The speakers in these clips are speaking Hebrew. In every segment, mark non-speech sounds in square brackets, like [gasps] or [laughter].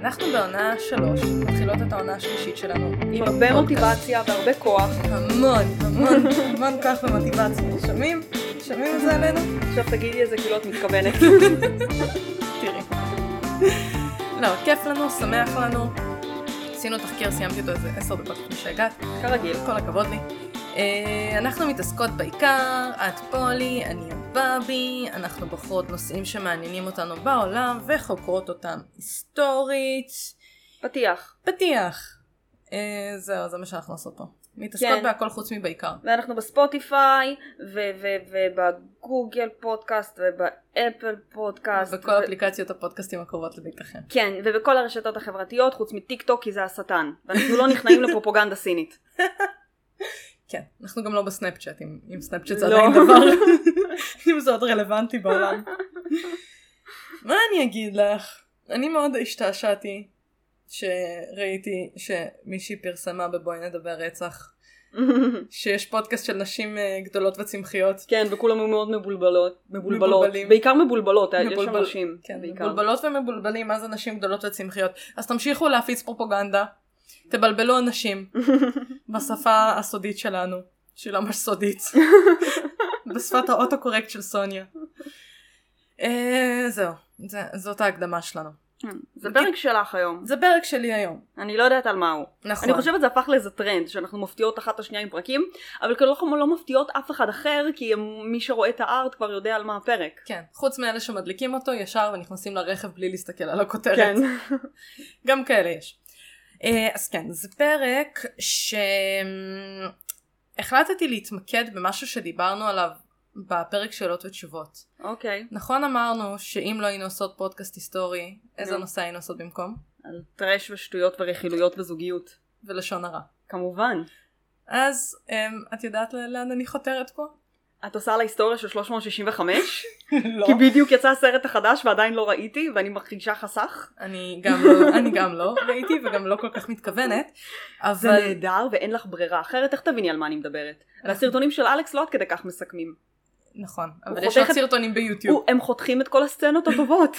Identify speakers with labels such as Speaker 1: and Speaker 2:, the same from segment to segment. Speaker 1: אנחנו בעונה שלוש, מתחילות את העונה השלישית שלנו. עם
Speaker 2: הרבה
Speaker 1: הפודקאסט.
Speaker 2: מוטיבציה והרבה כוח.
Speaker 1: המון, המון, המון כוח ומוטיבציה. שומעים? שומעים את זה עלינו?
Speaker 2: עכשיו תגידי איזה כאילו את מתכוונת.
Speaker 1: [laughs] תראי. לא, כיף לנו, שמח לנו. עשינו תחקיר, סיימתי אותו איזה עשר דקות לפני שהגעת.
Speaker 2: כרגיל.
Speaker 1: כל הכבוד לי. אה, אנחנו מתעסקות בעיקר, את פולי, אני הבאבי, אנחנו בוחרות נושאים שמעניינים אותנו בעולם וחוקרות אותם היסטורית.
Speaker 2: פתיח.
Speaker 1: פתיח. אה, זהו, זה מה שאנחנו עושות פה. מתעסקות
Speaker 2: כן.
Speaker 1: בהכל חוץ מבעיקר.
Speaker 2: ואנחנו בספוטיפיי, ו- ו- ובגוגל פודקאסט, ובאפל פודקאסט.
Speaker 1: בכל אפליקציות הפודקאסטים הקרובות לביתכם.
Speaker 2: כן, ובכל הרשתות החברתיות, חוץ מטיק טוק כי זה השטן. ואנחנו לא נכנעים לפרופוגנדה סינית. [laughs]
Speaker 1: כן, אנחנו גם לא בסנאפצ'אט, אם, אם סנאפצ'אט זה
Speaker 2: לא.
Speaker 1: עדיין דבר, [laughs] אם זה עוד רלוונטי
Speaker 2: [laughs]
Speaker 1: בעולם. מה אני אגיד לך? אני מאוד השתעשעתי שראיתי שמישהי פרסמה בבואי נדבר רצח, שיש פודקאסט של נשים אה, גדולות וצמחיות.
Speaker 2: כן, וכולם היו מאוד מבולבלות. מבולבלות.
Speaker 1: מבולבלים.
Speaker 2: בעיקר מבולבלות, אה, יש שם
Speaker 1: מבולבל-
Speaker 2: נשים.
Speaker 1: כן,
Speaker 2: בעיקר.
Speaker 1: מבולבלות ומבולבלים, מה זה נשים גדולות וצמחיות. אז תמשיכו להפיץ פרופוגנדה, תבלבלו אנשים,
Speaker 2: [laughs]
Speaker 1: בשפה הסודית שלנו, שהיא לא ממש
Speaker 2: [laughs]
Speaker 1: סודית, בשפת האוטו-קורקט של סוניה. אה, זהו, זה, זאת ההקדמה שלנו.
Speaker 2: כן. זה פרק שלך היום.
Speaker 1: זה פרק שלי היום.
Speaker 2: אני לא יודעת על מה הוא.
Speaker 1: נכון.
Speaker 2: אני חושבת זה הפך לאיזה טרנד, שאנחנו מפתיעות אחת את השנייה עם פרקים, אבל כאילו אנחנו לא מפתיעות אף אחד אחר, כי הם- מי שרואה את הארט כבר יודע על מה הפרק.
Speaker 1: כן, חוץ מאלה שמדליקים אותו ישר ונכנסים לרכב בלי להסתכל על הכותרת.
Speaker 2: כן.
Speaker 1: גם כאלה יש. אה, אז כן, זה פרק שהחלטתי להתמקד במשהו שדיברנו עליו בפרק שאלות ותשובות.
Speaker 2: [laughs] אוקיי.
Speaker 1: נכון אמרנו שאם לא היינו עושות פודקאסט היסטורי, איזה
Speaker 2: נו.
Speaker 1: נושא היינו עושות במקום?
Speaker 2: על טרש ושטויות ורכילויות וזוגיות.
Speaker 1: ולשון הרע.
Speaker 2: כמובן.
Speaker 1: אז אמ, את יודעת ל- לאן אני חותרת
Speaker 2: [laughs]
Speaker 1: פה?
Speaker 2: את עושה על ההיסטוריה של 365?
Speaker 1: [laughs] לא.
Speaker 2: כי בדיוק יצא הסרט החדש ועדיין לא ראיתי, ואני מרגישה חסך.
Speaker 1: אני גם לא, אני גם לא ראיתי וגם לא כל כך מתכוונת,
Speaker 2: זה
Speaker 1: אבל
Speaker 2: נהדר ואין לך ברירה אחרת, איך תביני על מה אני מדברת?
Speaker 1: אנחנו-
Speaker 2: והסרטונים של אלכס לא עד כדי כך מסכמים.
Speaker 1: נכון,
Speaker 2: הוא
Speaker 1: אבל יש עוד
Speaker 2: חותך את-
Speaker 1: סרטונים ביוטיוב,
Speaker 2: הוא- הם חותכים את כל
Speaker 1: [laughs]
Speaker 2: הסצנות הטובות,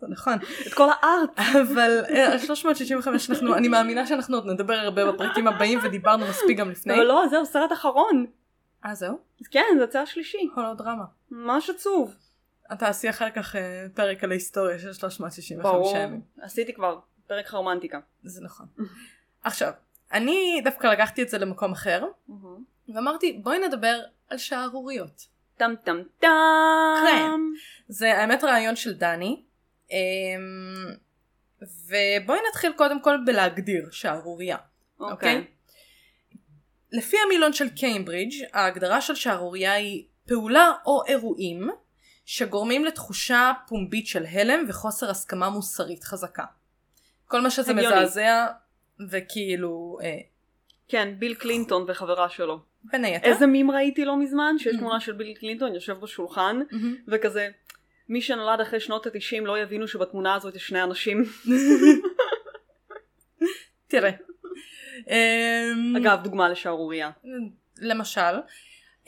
Speaker 1: זה נכון,
Speaker 2: את כל הארט.
Speaker 1: אבל אה, 365 אנחנו, אני מאמינה שאנחנו עוד נדבר הרבה בפרקים הבאים ודיברנו מספיק גם לפני,
Speaker 2: אבל לא, זהו, סרט אחרון.
Speaker 1: אה זהו,
Speaker 2: אז כן, זה הצעה שלישי.
Speaker 1: הולודרמה,
Speaker 2: ממש עצוב.
Speaker 1: אתה תעשי אחר כך אה, פרק על ההיסטוריה של 365
Speaker 2: ברור.
Speaker 1: ימים,
Speaker 2: עשיתי כבר פרק רומנטיקה.
Speaker 1: זה נכון, עכשיו, אני דווקא לקחתי את זה למקום אחר, ואמרתי בואי נדבר על שערוריות.
Speaker 2: טם טם טם.
Speaker 1: כן. זה האמת רעיון של דני. אמ, ובואי נתחיל קודם כל בלהגדיר שערורייה, אוקיי?
Speaker 2: אוקיי.
Speaker 1: לפי המילון של קיימברידג' ההגדרה של שערורייה היא פעולה או אירועים שגורמים לתחושה פומבית של הלם וחוסר הסכמה מוסרית חזקה. כל מה שזה
Speaker 2: הגיוני.
Speaker 1: מזעזע וכאילו אה,
Speaker 2: כן, ביל קלינטון וחברה שלו.
Speaker 1: בין היתר.
Speaker 2: איזה מים ראיתי לא מזמן? שיש
Speaker 1: Mhm.
Speaker 2: תמונה של ביל קלינטון יושב בשולחן,
Speaker 1: מהמם.
Speaker 2: וכזה, מי שנולד אחרי שנות ה-90 לא יבינו שבתמונה הזאת יש שני אנשים.
Speaker 1: תראה. אמ,
Speaker 2: אגב, דוגמה לשערורייה.
Speaker 1: למשל.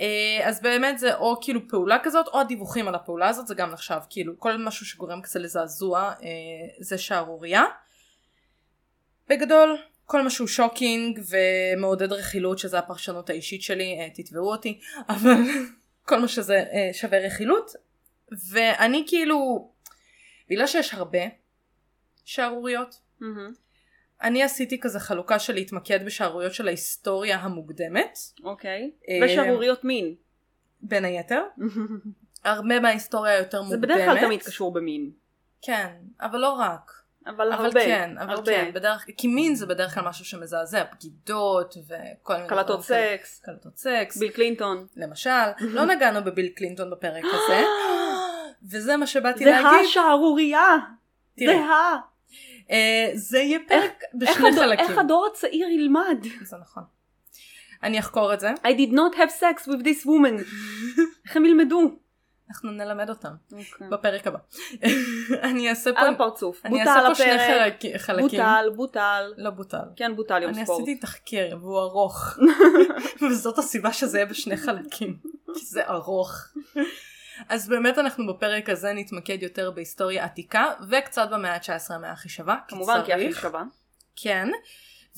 Speaker 1: אה, אז באמת זה או כאילו פעולה כזאת או הדיווחים על הפעולה הזאת זה גם נחשב כאילו כל משהו שגורם כזה לזעזוע אה, זה שערורייה. בגדול כל משהו שוקינג ומעודד רכילות שזה הפרשנות האישית שלי אה, תתבעו אותי [laughs] אבל כל מה שזה אה, שווה רכילות ואני כאילו בגלל שיש הרבה שערוריות
Speaker 2: מהמם.
Speaker 1: אני עשיתי כזה חלוקה של להתמקד בשערוריות של ההיסטוריה המוקדמת
Speaker 2: אוקיי.
Speaker 1: אה, [laughs]
Speaker 2: ושערוריות מין.
Speaker 1: בין היתר הרבה מההיסטוריה היותר
Speaker 2: זה
Speaker 1: מוקדמת.
Speaker 2: בדרך כלל תמיד קשור במין.
Speaker 1: כן, אבל לא רק.
Speaker 2: אבל הרבה.
Speaker 1: אבל כן, אבל
Speaker 2: הרבה.
Speaker 1: כן, בדרך כי מין זה בדרך כלל משהו שמזעזע, בגידות וכל מיני
Speaker 2: קלטות
Speaker 1: דברים כאלה.
Speaker 2: סקס. Mm-hmm.
Speaker 1: קלטות סקס,
Speaker 2: ביל קלינטון.
Speaker 1: למשל, לא נגענו בביל קלינטון בפרק
Speaker 2: [gasps]
Speaker 1: הזה, וזה מה שבאתי
Speaker 2: זה
Speaker 1: להגיד,
Speaker 2: השערורייה!
Speaker 1: תראי,
Speaker 2: זה ה...
Speaker 1: אה, זה יהיה פרק
Speaker 2: איך
Speaker 1: בשני
Speaker 2: הדור- איך
Speaker 1: חלקים,
Speaker 2: הדור הצעיר ילמד?
Speaker 1: זה נכון. אני אחקור את זה,
Speaker 2: I did not have sex with this [laughs] woman. איך הם ילמדו?
Speaker 1: אנחנו נלמד אותם
Speaker 2: אוקיי.
Speaker 1: בפרק הבא. [laughs] אני אעשה פה,
Speaker 2: על הפרצוף.
Speaker 1: אני אעשה
Speaker 2: בוטל
Speaker 1: פה שני
Speaker 2: הפרק.
Speaker 1: חלק- חלקים,
Speaker 2: בוטל, בוטל.
Speaker 1: לא בוטל.
Speaker 2: כן, בוטל יום
Speaker 1: אני
Speaker 2: ספורט.
Speaker 1: עשיתי תחקיר והוא [laughs] ארוך וזאת הסיבה שזה יהיה בשני חלקים כי זה ארוך אז באמת אנחנו בפרק הזה נתמקד יותר בהיסטוריה עתיקה וקצת במאה ה-19 המאה הכי שווה.
Speaker 2: [laughs] כמובן, כי הכי
Speaker 1: צריך.
Speaker 2: שווה.
Speaker 1: כן.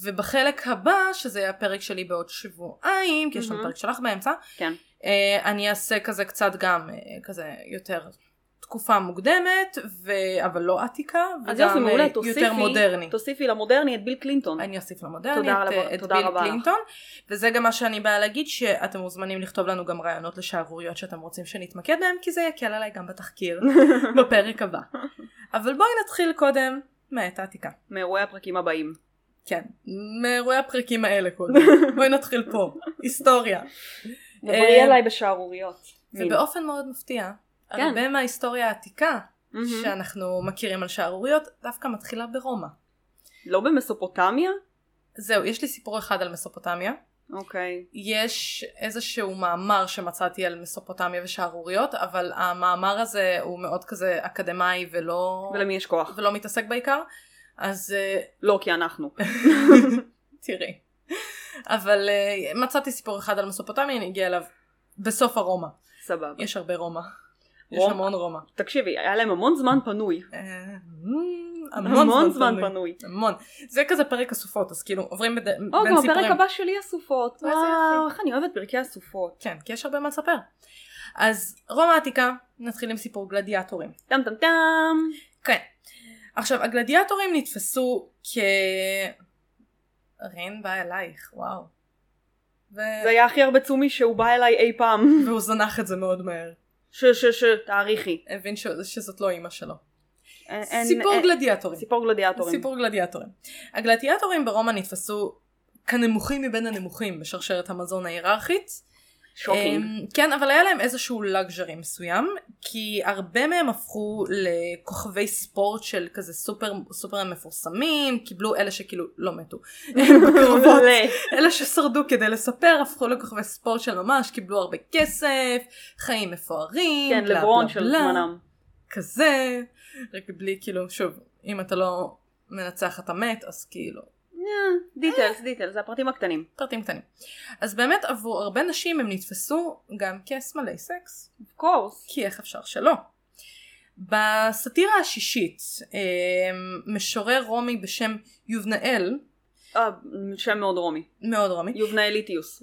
Speaker 1: ובחלק הבא, שזה יהיה הפרק שלי בעוד שבועיים, כי יש לנו
Speaker 2: מהמם.
Speaker 1: פרק שלך באמצע,
Speaker 2: כן.
Speaker 1: אה, אני אעשה כזה קצת גם, אה, כזה יותר תקופה מוקדמת, ו... אבל לא עתיקה,
Speaker 2: אז יופי,
Speaker 1: וגם
Speaker 2: מעולה,
Speaker 1: אה,
Speaker 2: תוסיפי,
Speaker 1: יותר מודרני.
Speaker 2: תוסיפי למודרני את ביל קלינטון. [laughs]
Speaker 1: אני אוסיף למודרני
Speaker 2: תודה
Speaker 1: את,
Speaker 2: רבה-
Speaker 1: אה, את
Speaker 2: תודה
Speaker 1: ביל
Speaker 2: רבה לך.
Speaker 1: קלינטון, וזה גם מה שאני באה להגיד, שאתם מוזמנים לכתוב לנו גם רעיונות לשערוריות שאתם רוצים שנתמקד בהם, כי זה יקל עליי גם
Speaker 2: [laughs]
Speaker 1: בתחקיר בפרק הבא. אבל בואי נתחיל קודם מהעת העתיקה.
Speaker 2: מאירועי הפרקים הבאים.
Speaker 1: כן, מאירועי הפרקים האלה
Speaker 2: [laughs]
Speaker 1: קודם. בואי נתחיל פה, היסטוריה.
Speaker 2: דברי
Speaker 1: אה,
Speaker 2: אליי בשערוריות. מין.
Speaker 1: ובאופן מאוד מפתיע,
Speaker 2: כן.
Speaker 1: הרבה מההיסטוריה העתיקה
Speaker 2: מהמם.
Speaker 1: שאנחנו מכירים על שערוריות, דווקא מתחילה ברומא.
Speaker 2: לא במסופוטמיה?
Speaker 1: זהו, יש לי סיפור אחד על מסופוטמיה.
Speaker 2: אוקיי.
Speaker 1: יש איזשהו מאמר שמצאתי על מסופוטמיה ושערוריות, אבל המאמר הזה הוא מאוד כזה אקדמאי ולא,
Speaker 2: ולמי יש כוח?
Speaker 1: ולא מתעסק בעיקר, אז
Speaker 2: [laughs]
Speaker 1: אה,
Speaker 2: לא, כי אנחנו.
Speaker 1: תראי. אבל אה, מצאתי סיפור אחד על מסופוטמיה, אני אגיע אליו בסוף הרומא.
Speaker 2: סבבה.
Speaker 1: יש הרבה רומא. יש
Speaker 2: רומא?
Speaker 1: המון רומא.
Speaker 2: תקשיבי, היה להם המון זמן פנוי.
Speaker 1: אה,
Speaker 2: [laughs]
Speaker 1: המון,
Speaker 2: המון זמן פנוי.
Speaker 1: המון. זה כזה פרק הסופות, אז כאילו עוברים בד... בין
Speaker 2: או,
Speaker 1: סיפורים.
Speaker 2: גם אוקיי, הפרק הבא שלי הסופות.
Speaker 1: איזה
Speaker 2: וואו, איך אני אוהבת פרקי הסופות.
Speaker 1: כן, כי יש הרבה מה לספר. אז רומא העתיקה, נתחיל עם סיפור גלדיאטורים.
Speaker 2: טם טם טם.
Speaker 1: כן. עכשיו, הגלדיאטורים נתפסו כ... ריין בא אלייך, וואו. ו...
Speaker 2: זה היה הכי הרבה צומי שהוא בא אליי אי פעם.
Speaker 1: והוא זנח את זה מאוד מהר.
Speaker 2: [laughs] ש ש ש, תאריכי.
Speaker 1: הבין ש... שזאת לא אימא שלו.
Speaker 2: אין- אין-
Speaker 1: סיפור
Speaker 2: אין-
Speaker 1: גלדיאטורים.
Speaker 2: אה, סיפור גלדיאטורים.
Speaker 1: סיפור גלדיאטורים. הגלדיאטורים ברומא נתפסו כנמוכים מבין הנמוכים בשרשרת המזון ההיררכית.
Speaker 2: שוקינג. [laughs]
Speaker 1: אמ, כן, אבל היה להם איזשהו לגז'רי מסוים, כי הרבה מהם הפכו לכוכבי ספורט של כזה סופר, סופר מפורסמים, קיבלו אלה שכאילו לא
Speaker 2: [laughs]
Speaker 1: מתו. בקרבות.
Speaker 2: מעולה.
Speaker 1: אלה ששרדו כדי לספר הפכו לכוכבי ספורט של ממש, קיבלו הרבה כסף, חיים מפוארים,
Speaker 2: כן,
Speaker 1: בלה,
Speaker 2: לברון
Speaker 1: בלה,
Speaker 2: של
Speaker 1: בלה.
Speaker 2: זמנם.
Speaker 1: כזה, רק בלי כאילו, שוב, אם אתה לא מנצח אתה מת, אז כאילו,
Speaker 2: דיטלס, דיטלס, זה הפרטים הקטנים.
Speaker 1: פרטים קטנים. אז באמת עבור הרבה נשים הם נתפסו גם כסמלי סקס,
Speaker 2: אוף קורס.
Speaker 1: כי איך אפשר שלא. בסאטירה השישית, אה, משורר רומי בשם יובנאל,
Speaker 2: אה, שם מאוד רומי.
Speaker 1: מאוד רומי, [laughs]
Speaker 2: [laughs] יובנאליטיוס.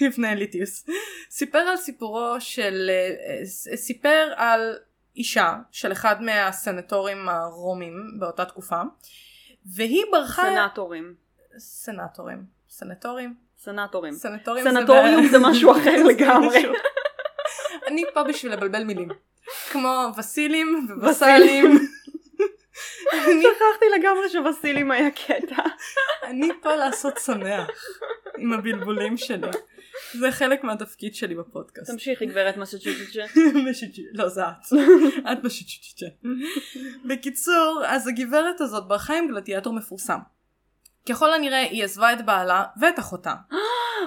Speaker 1: יבנאליטיוס, סיפר על סיפורו של, אה, ס- סיפר על אישה של אחד מהסנטורים הרומים באותה תקופה, והיא ברחה,
Speaker 2: סנטורים.
Speaker 1: סנטורים, סנטורים,
Speaker 2: סנטורים.
Speaker 1: סנטורים,
Speaker 2: סנטוריום
Speaker 1: בעיה.
Speaker 2: זה משהו
Speaker 1: [laughs]
Speaker 2: אחר
Speaker 1: זה
Speaker 2: לגמרי.
Speaker 1: משהו- אני פה בשביל לבלבל מילים, כמו וסילים ובסלים, אני
Speaker 2: [laughs] שכחתי לגמרי שבסילים היה קטע.
Speaker 1: אני פה לעשות שמח עם הבלבולים שלי, זה חלק מהתפקיד שלי בפודקאסט.
Speaker 2: תמשיכי גברת מסצ'וצ'ה.
Speaker 1: בשיצ'י- לא זה את, את בשיצ'יצ'ה. בקיצור, אז הגברת הזאת ברחה עם גלדיאטור מפורסם. ככל הנראה היא עזבה את בעלה ואת אחותה.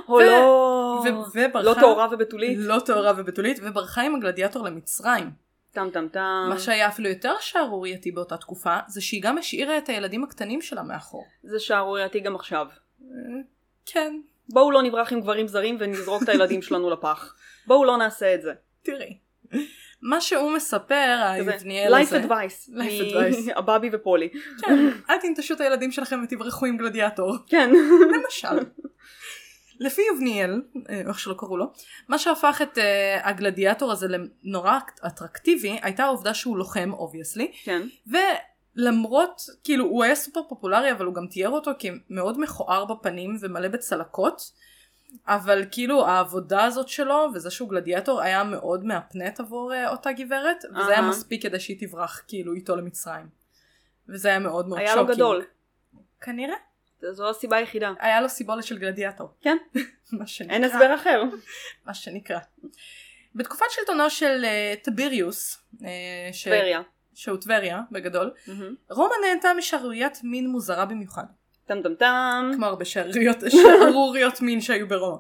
Speaker 2: או
Speaker 1: ו-
Speaker 2: לא.
Speaker 1: ו- וברחה...
Speaker 2: לא טהורה ובתולית.
Speaker 1: לא טהורה ובתולית, וברחה עם הגלדיאטור למצרים.
Speaker 2: טם טם טם.
Speaker 1: מה שהיה אפילו יותר שערורייתי באותה תקופה, זה שהיא גם השאירה את הילדים הקטנים שלה מאחור.
Speaker 2: זה שערורייתי גם עכשיו.
Speaker 1: אה, כן,
Speaker 2: בואו לא נברח עם גברים זרים ונזרוק את הילדים שלנו לפח. בואו לא נעשה את זה.
Speaker 1: תראי. מה שהוא מספר, היבניאל
Speaker 2: לייף
Speaker 1: הזה,
Speaker 2: אדווייס.
Speaker 1: Life advice.
Speaker 2: [laughs] הבאבי ופולי.
Speaker 1: כן, אל תנטשו את הילדים שלכם ותברחו עם גלדיאטור.
Speaker 2: כן. [laughs]
Speaker 1: למשל. לפי יבניאל, אה, איך שלא קראו לו, מה שהפך את אה, הגלדיאטור הזה לנורא אטרקטיבי הייתה העובדה שהוא לוחם אובייסלי,
Speaker 2: כן.
Speaker 1: ולמרות, כאילו הוא היה סופר פופולרי אבל הוא גם תיאר אותו כמאוד מכוער בפנים ומלא בצלקות, אבל כאילו העבודה הזאת שלו וזה שהוא גלדיאטור היה מאוד מהפנט עבור אה, אותה גברת, וזה היה
Speaker 2: אהה.
Speaker 1: מספיק כדי שהיא תברח כאילו איתו למצרים. וזה היה מאוד מאוד
Speaker 2: היה
Speaker 1: שוקינג.
Speaker 2: לו גדול.
Speaker 1: כנראה.
Speaker 2: זו הסיבה היחידה.
Speaker 1: היה לו סיבולת של גלדיאטור.
Speaker 2: כן.
Speaker 1: [laughs] מה שנקרא.
Speaker 2: אין הסבר אחר.
Speaker 1: כן. מה שנקרא. בתקופת שלטונו של אה, טביריוס, אה, ש-
Speaker 2: טבריה.
Speaker 1: שהוא טבריה בגדול,
Speaker 2: מהמם.
Speaker 1: רומא נהנתה משערוריית מין מוזרה במיוחד.
Speaker 2: טם טם טם.
Speaker 1: כמו הרבה שערוריות, שערוריות מין שהיו ברומא.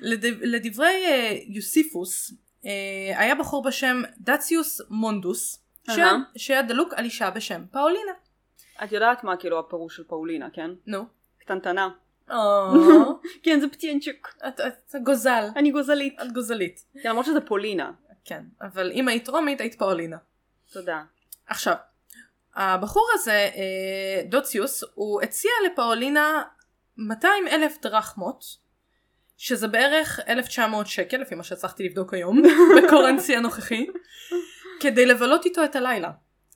Speaker 1: לדב- לדברי אה, יוסיפוס, אה, היה בחור בשם דציוס מונדוס, ש-
Speaker 2: אהה.
Speaker 1: שהיה דלוק על אישה בשם פאולינה.
Speaker 2: את יודעת מה כאילו הפירוש של פאולינה, כן?
Speaker 1: נו.
Speaker 2: קטנטנה.
Speaker 1: אה,
Speaker 2: כן, זה פציינצ'יק.
Speaker 1: את את גוזל.
Speaker 2: אני גוזלית.
Speaker 1: את גוזלית.
Speaker 2: כן, למרות שזה פולינה.
Speaker 1: כן, אבל אם היית רומית היית פאולינה.
Speaker 2: תודה.
Speaker 1: עכשיו, הבחור הזה, אה, דוציוס, הוא הציע לפאולינה 200 אלף דרחמות, שזה בערך 1,900 שקל, לפי מה שהצלחתי לבדוק
Speaker 2: [laughs]
Speaker 1: היום, בקורנסי הנוכחי, כדי לבלות איתו את הלילה.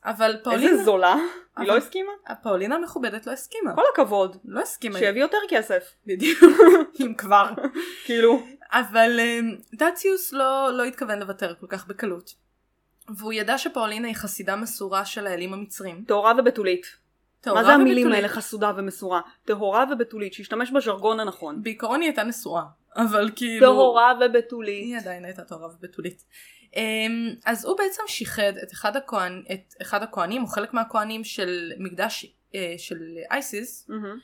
Speaker 1: אבל
Speaker 2: איזה
Speaker 1: פאולינה,
Speaker 2: זולה.
Speaker 1: אבל-
Speaker 2: היא לא הסכימה?
Speaker 1: פאולינה המכובדת לא הסכימה.
Speaker 2: כל הכבוד.
Speaker 1: לא הסכימה,
Speaker 2: שיביא יותר כסף.
Speaker 1: [laughs] בדיוק, אם כבר.
Speaker 2: כאילו.
Speaker 1: אבל אה, דציוס לא, לא התכוון לוותר כל כך בקלות. והוא ידע שפאולינה היא חסידה מסורה של האלים המצרים.
Speaker 2: טהורה ובתולית. מה
Speaker 1: טהורה
Speaker 2: זה המילים
Speaker 1: וביטולית.
Speaker 2: האלה חסודה ומסורה? טהורה ובתולית, שישתמש בז'רגון הנכון.
Speaker 1: בעיקרון היא הייתה נשואה, אבל כאילו...
Speaker 2: טהורה ובתולית.
Speaker 1: היא עדיין הייתה טהורה ובתולית. אמ, אז הוא בעצם שיחד את אחד, הכהן, את אחד הכהנים, או חלק מהכהנים של מקדש אה, של אייסיס,
Speaker 2: מהמם.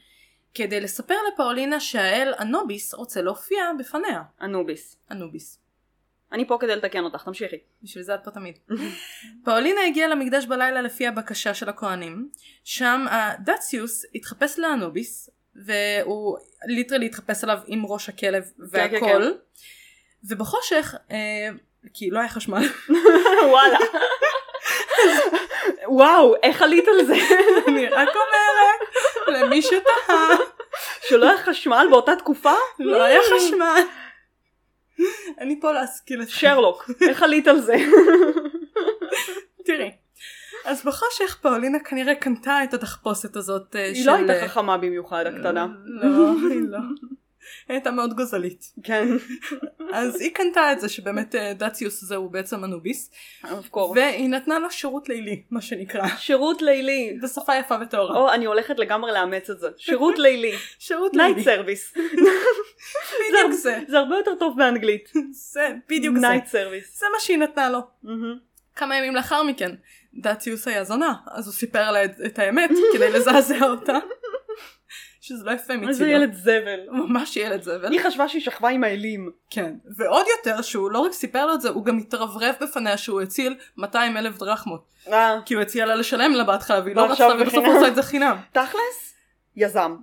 Speaker 1: כדי לספר לפאולינה שהאל אנוביס רוצה להופיע בפניה.
Speaker 2: אנוביס.
Speaker 1: אנוביס.
Speaker 2: אני פה כדי לתקן אותך,
Speaker 1: [laughs]
Speaker 2: תמשיכי.
Speaker 1: בשביל זה את פה תמיד. פאולינה הגיעה למקדש בלילה לפי הבקשה של הכהנים, שם הדציוס התחפש לאנוביס, והוא ליטרלי התחפש עליו עם ראש הכלב
Speaker 2: כן,
Speaker 1: והכל, ובחושך, אה, כי לא היה חשמל, [laughs]
Speaker 2: וואלה. [laughs] וואו, איך עלית על זה?
Speaker 1: [laughs] אני רק אומרת, למי שתהה,
Speaker 2: שלא היה חשמל באותה תקופה?
Speaker 1: לא היה חשמל. אני פה להשכיל את
Speaker 2: שרלוק, איך עלית
Speaker 1: [laughs]
Speaker 2: על זה?
Speaker 1: תראי. אז בחושך פאולינה כנראה קנתה את התחפושת הזאת אה,
Speaker 2: היא לא הייתה
Speaker 1: אה,
Speaker 2: חכמה במיוחד, הקטנה.
Speaker 1: לא, היא לא. היא הייתה מאוד גוזלית.
Speaker 2: [laughs] כן,
Speaker 1: אז היא קנתה את זה שבאמת אה, דציוס הזה הוא בעצם אנוביס,
Speaker 2: of course.
Speaker 1: והיא נתנה לו שירות לילי, מה שנקרא.
Speaker 2: שירות לילי.
Speaker 1: בשפה יפה וטהורה.
Speaker 2: או, אני הולכת לגמרי לאמץ את זה. שירות לילי.
Speaker 1: שירות
Speaker 2: נייט
Speaker 1: [laughs] לילי.
Speaker 2: סרוויס.
Speaker 1: בדיוק זה.
Speaker 2: זה הרבה יותר טוב באנגלית.
Speaker 1: זה, בדיוק זה.
Speaker 2: נייט סרוויס.
Speaker 1: זה מה שהיא נתנה לו. כמה ימים לאחר מכן, דציוס היה זונה, אז הוא סיפר לה את, את
Speaker 2: [laughs]
Speaker 1: האמת כדי לזעזע אותה. שזה לא יפה
Speaker 2: איזה
Speaker 1: מצידו.
Speaker 2: ילד זבל.
Speaker 1: הוא ממש ילד זבל.
Speaker 2: היא חשבה שהיא שכבה עם האלים.
Speaker 1: כן. ועוד יותר שהוא לא רק סיפר לו את זה, הוא גם התרברב בפניה שהוא הציל 200 אלף דרחמות.
Speaker 2: אה,
Speaker 1: כי הוא הציע לה לשלם לה בהתחלה והיא לא רצתה
Speaker 2: ועכשיו
Speaker 1: ובסוף
Speaker 2: בחינם.
Speaker 1: הוא עשה את זה חינם.
Speaker 2: תכלס? יזם.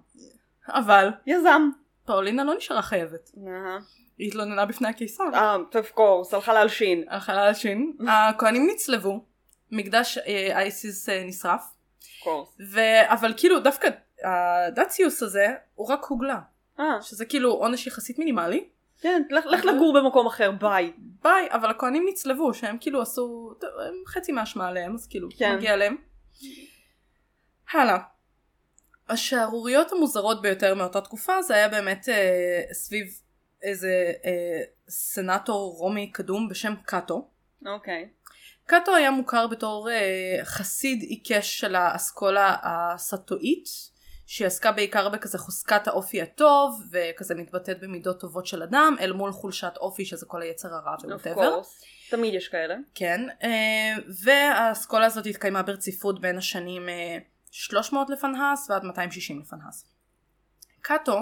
Speaker 1: אבל
Speaker 2: יזם.
Speaker 1: פאולינה לא נשארה חייבת.
Speaker 2: אה,
Speaker 1: היא התלוננה בפני הקיסר.
Speaker 2: אה, of course, הלכה להלשין.
Speaker 1: הלכה להלשין. הכהנים נצלבו, מקדש אה, אייסיס אה, נשרף,
Speaker 2: of course.
Speaker 1: ו... אבל כאילו דווקא הדציוס הזה הוא רק הוגלה.
Speaker 2: אה,
Speaker 1: שזה כאילו עונש יחסית מינימלי.
Speaker 2: כן, לך לך לגור במקום אחר, ביי.
Speaker 1: ביי, אבל הכהנים נצלבו, שהם כאילו עשו טוב, הם חצי מהאשמה עליהם, אז כאילו
Speaker 2: כן.
Speaker 1: מגיע להם. הלאה. השערוריות המוזרות ביותר מאותה תקופה זה היה באמת אה, סביב איזה אה, סנאטור רומי קדום בשם קאטו.
Speaker 2: אוקיי.
Speaker 1: קאטו היה מוכר בתור אה, חסיד עיקש של האסכולה הסטואית, שעסקה בעיקר בכזה חוזקת האופי הטוב, וכזה מתבטאת במידות טובות של אדם, אל מול חולשת אופי שזה כל היצר הרע
Speaker 2: of
Speaker 1: ווואטאבר.
Speaker 2: course. תמיד יש כאלה.
Speaker 1: כן, אה, והאסכולה הזאת התקיימה ברציפות בין השנים אה, 300 לפנהס ועד 260 לפנהס. קאטו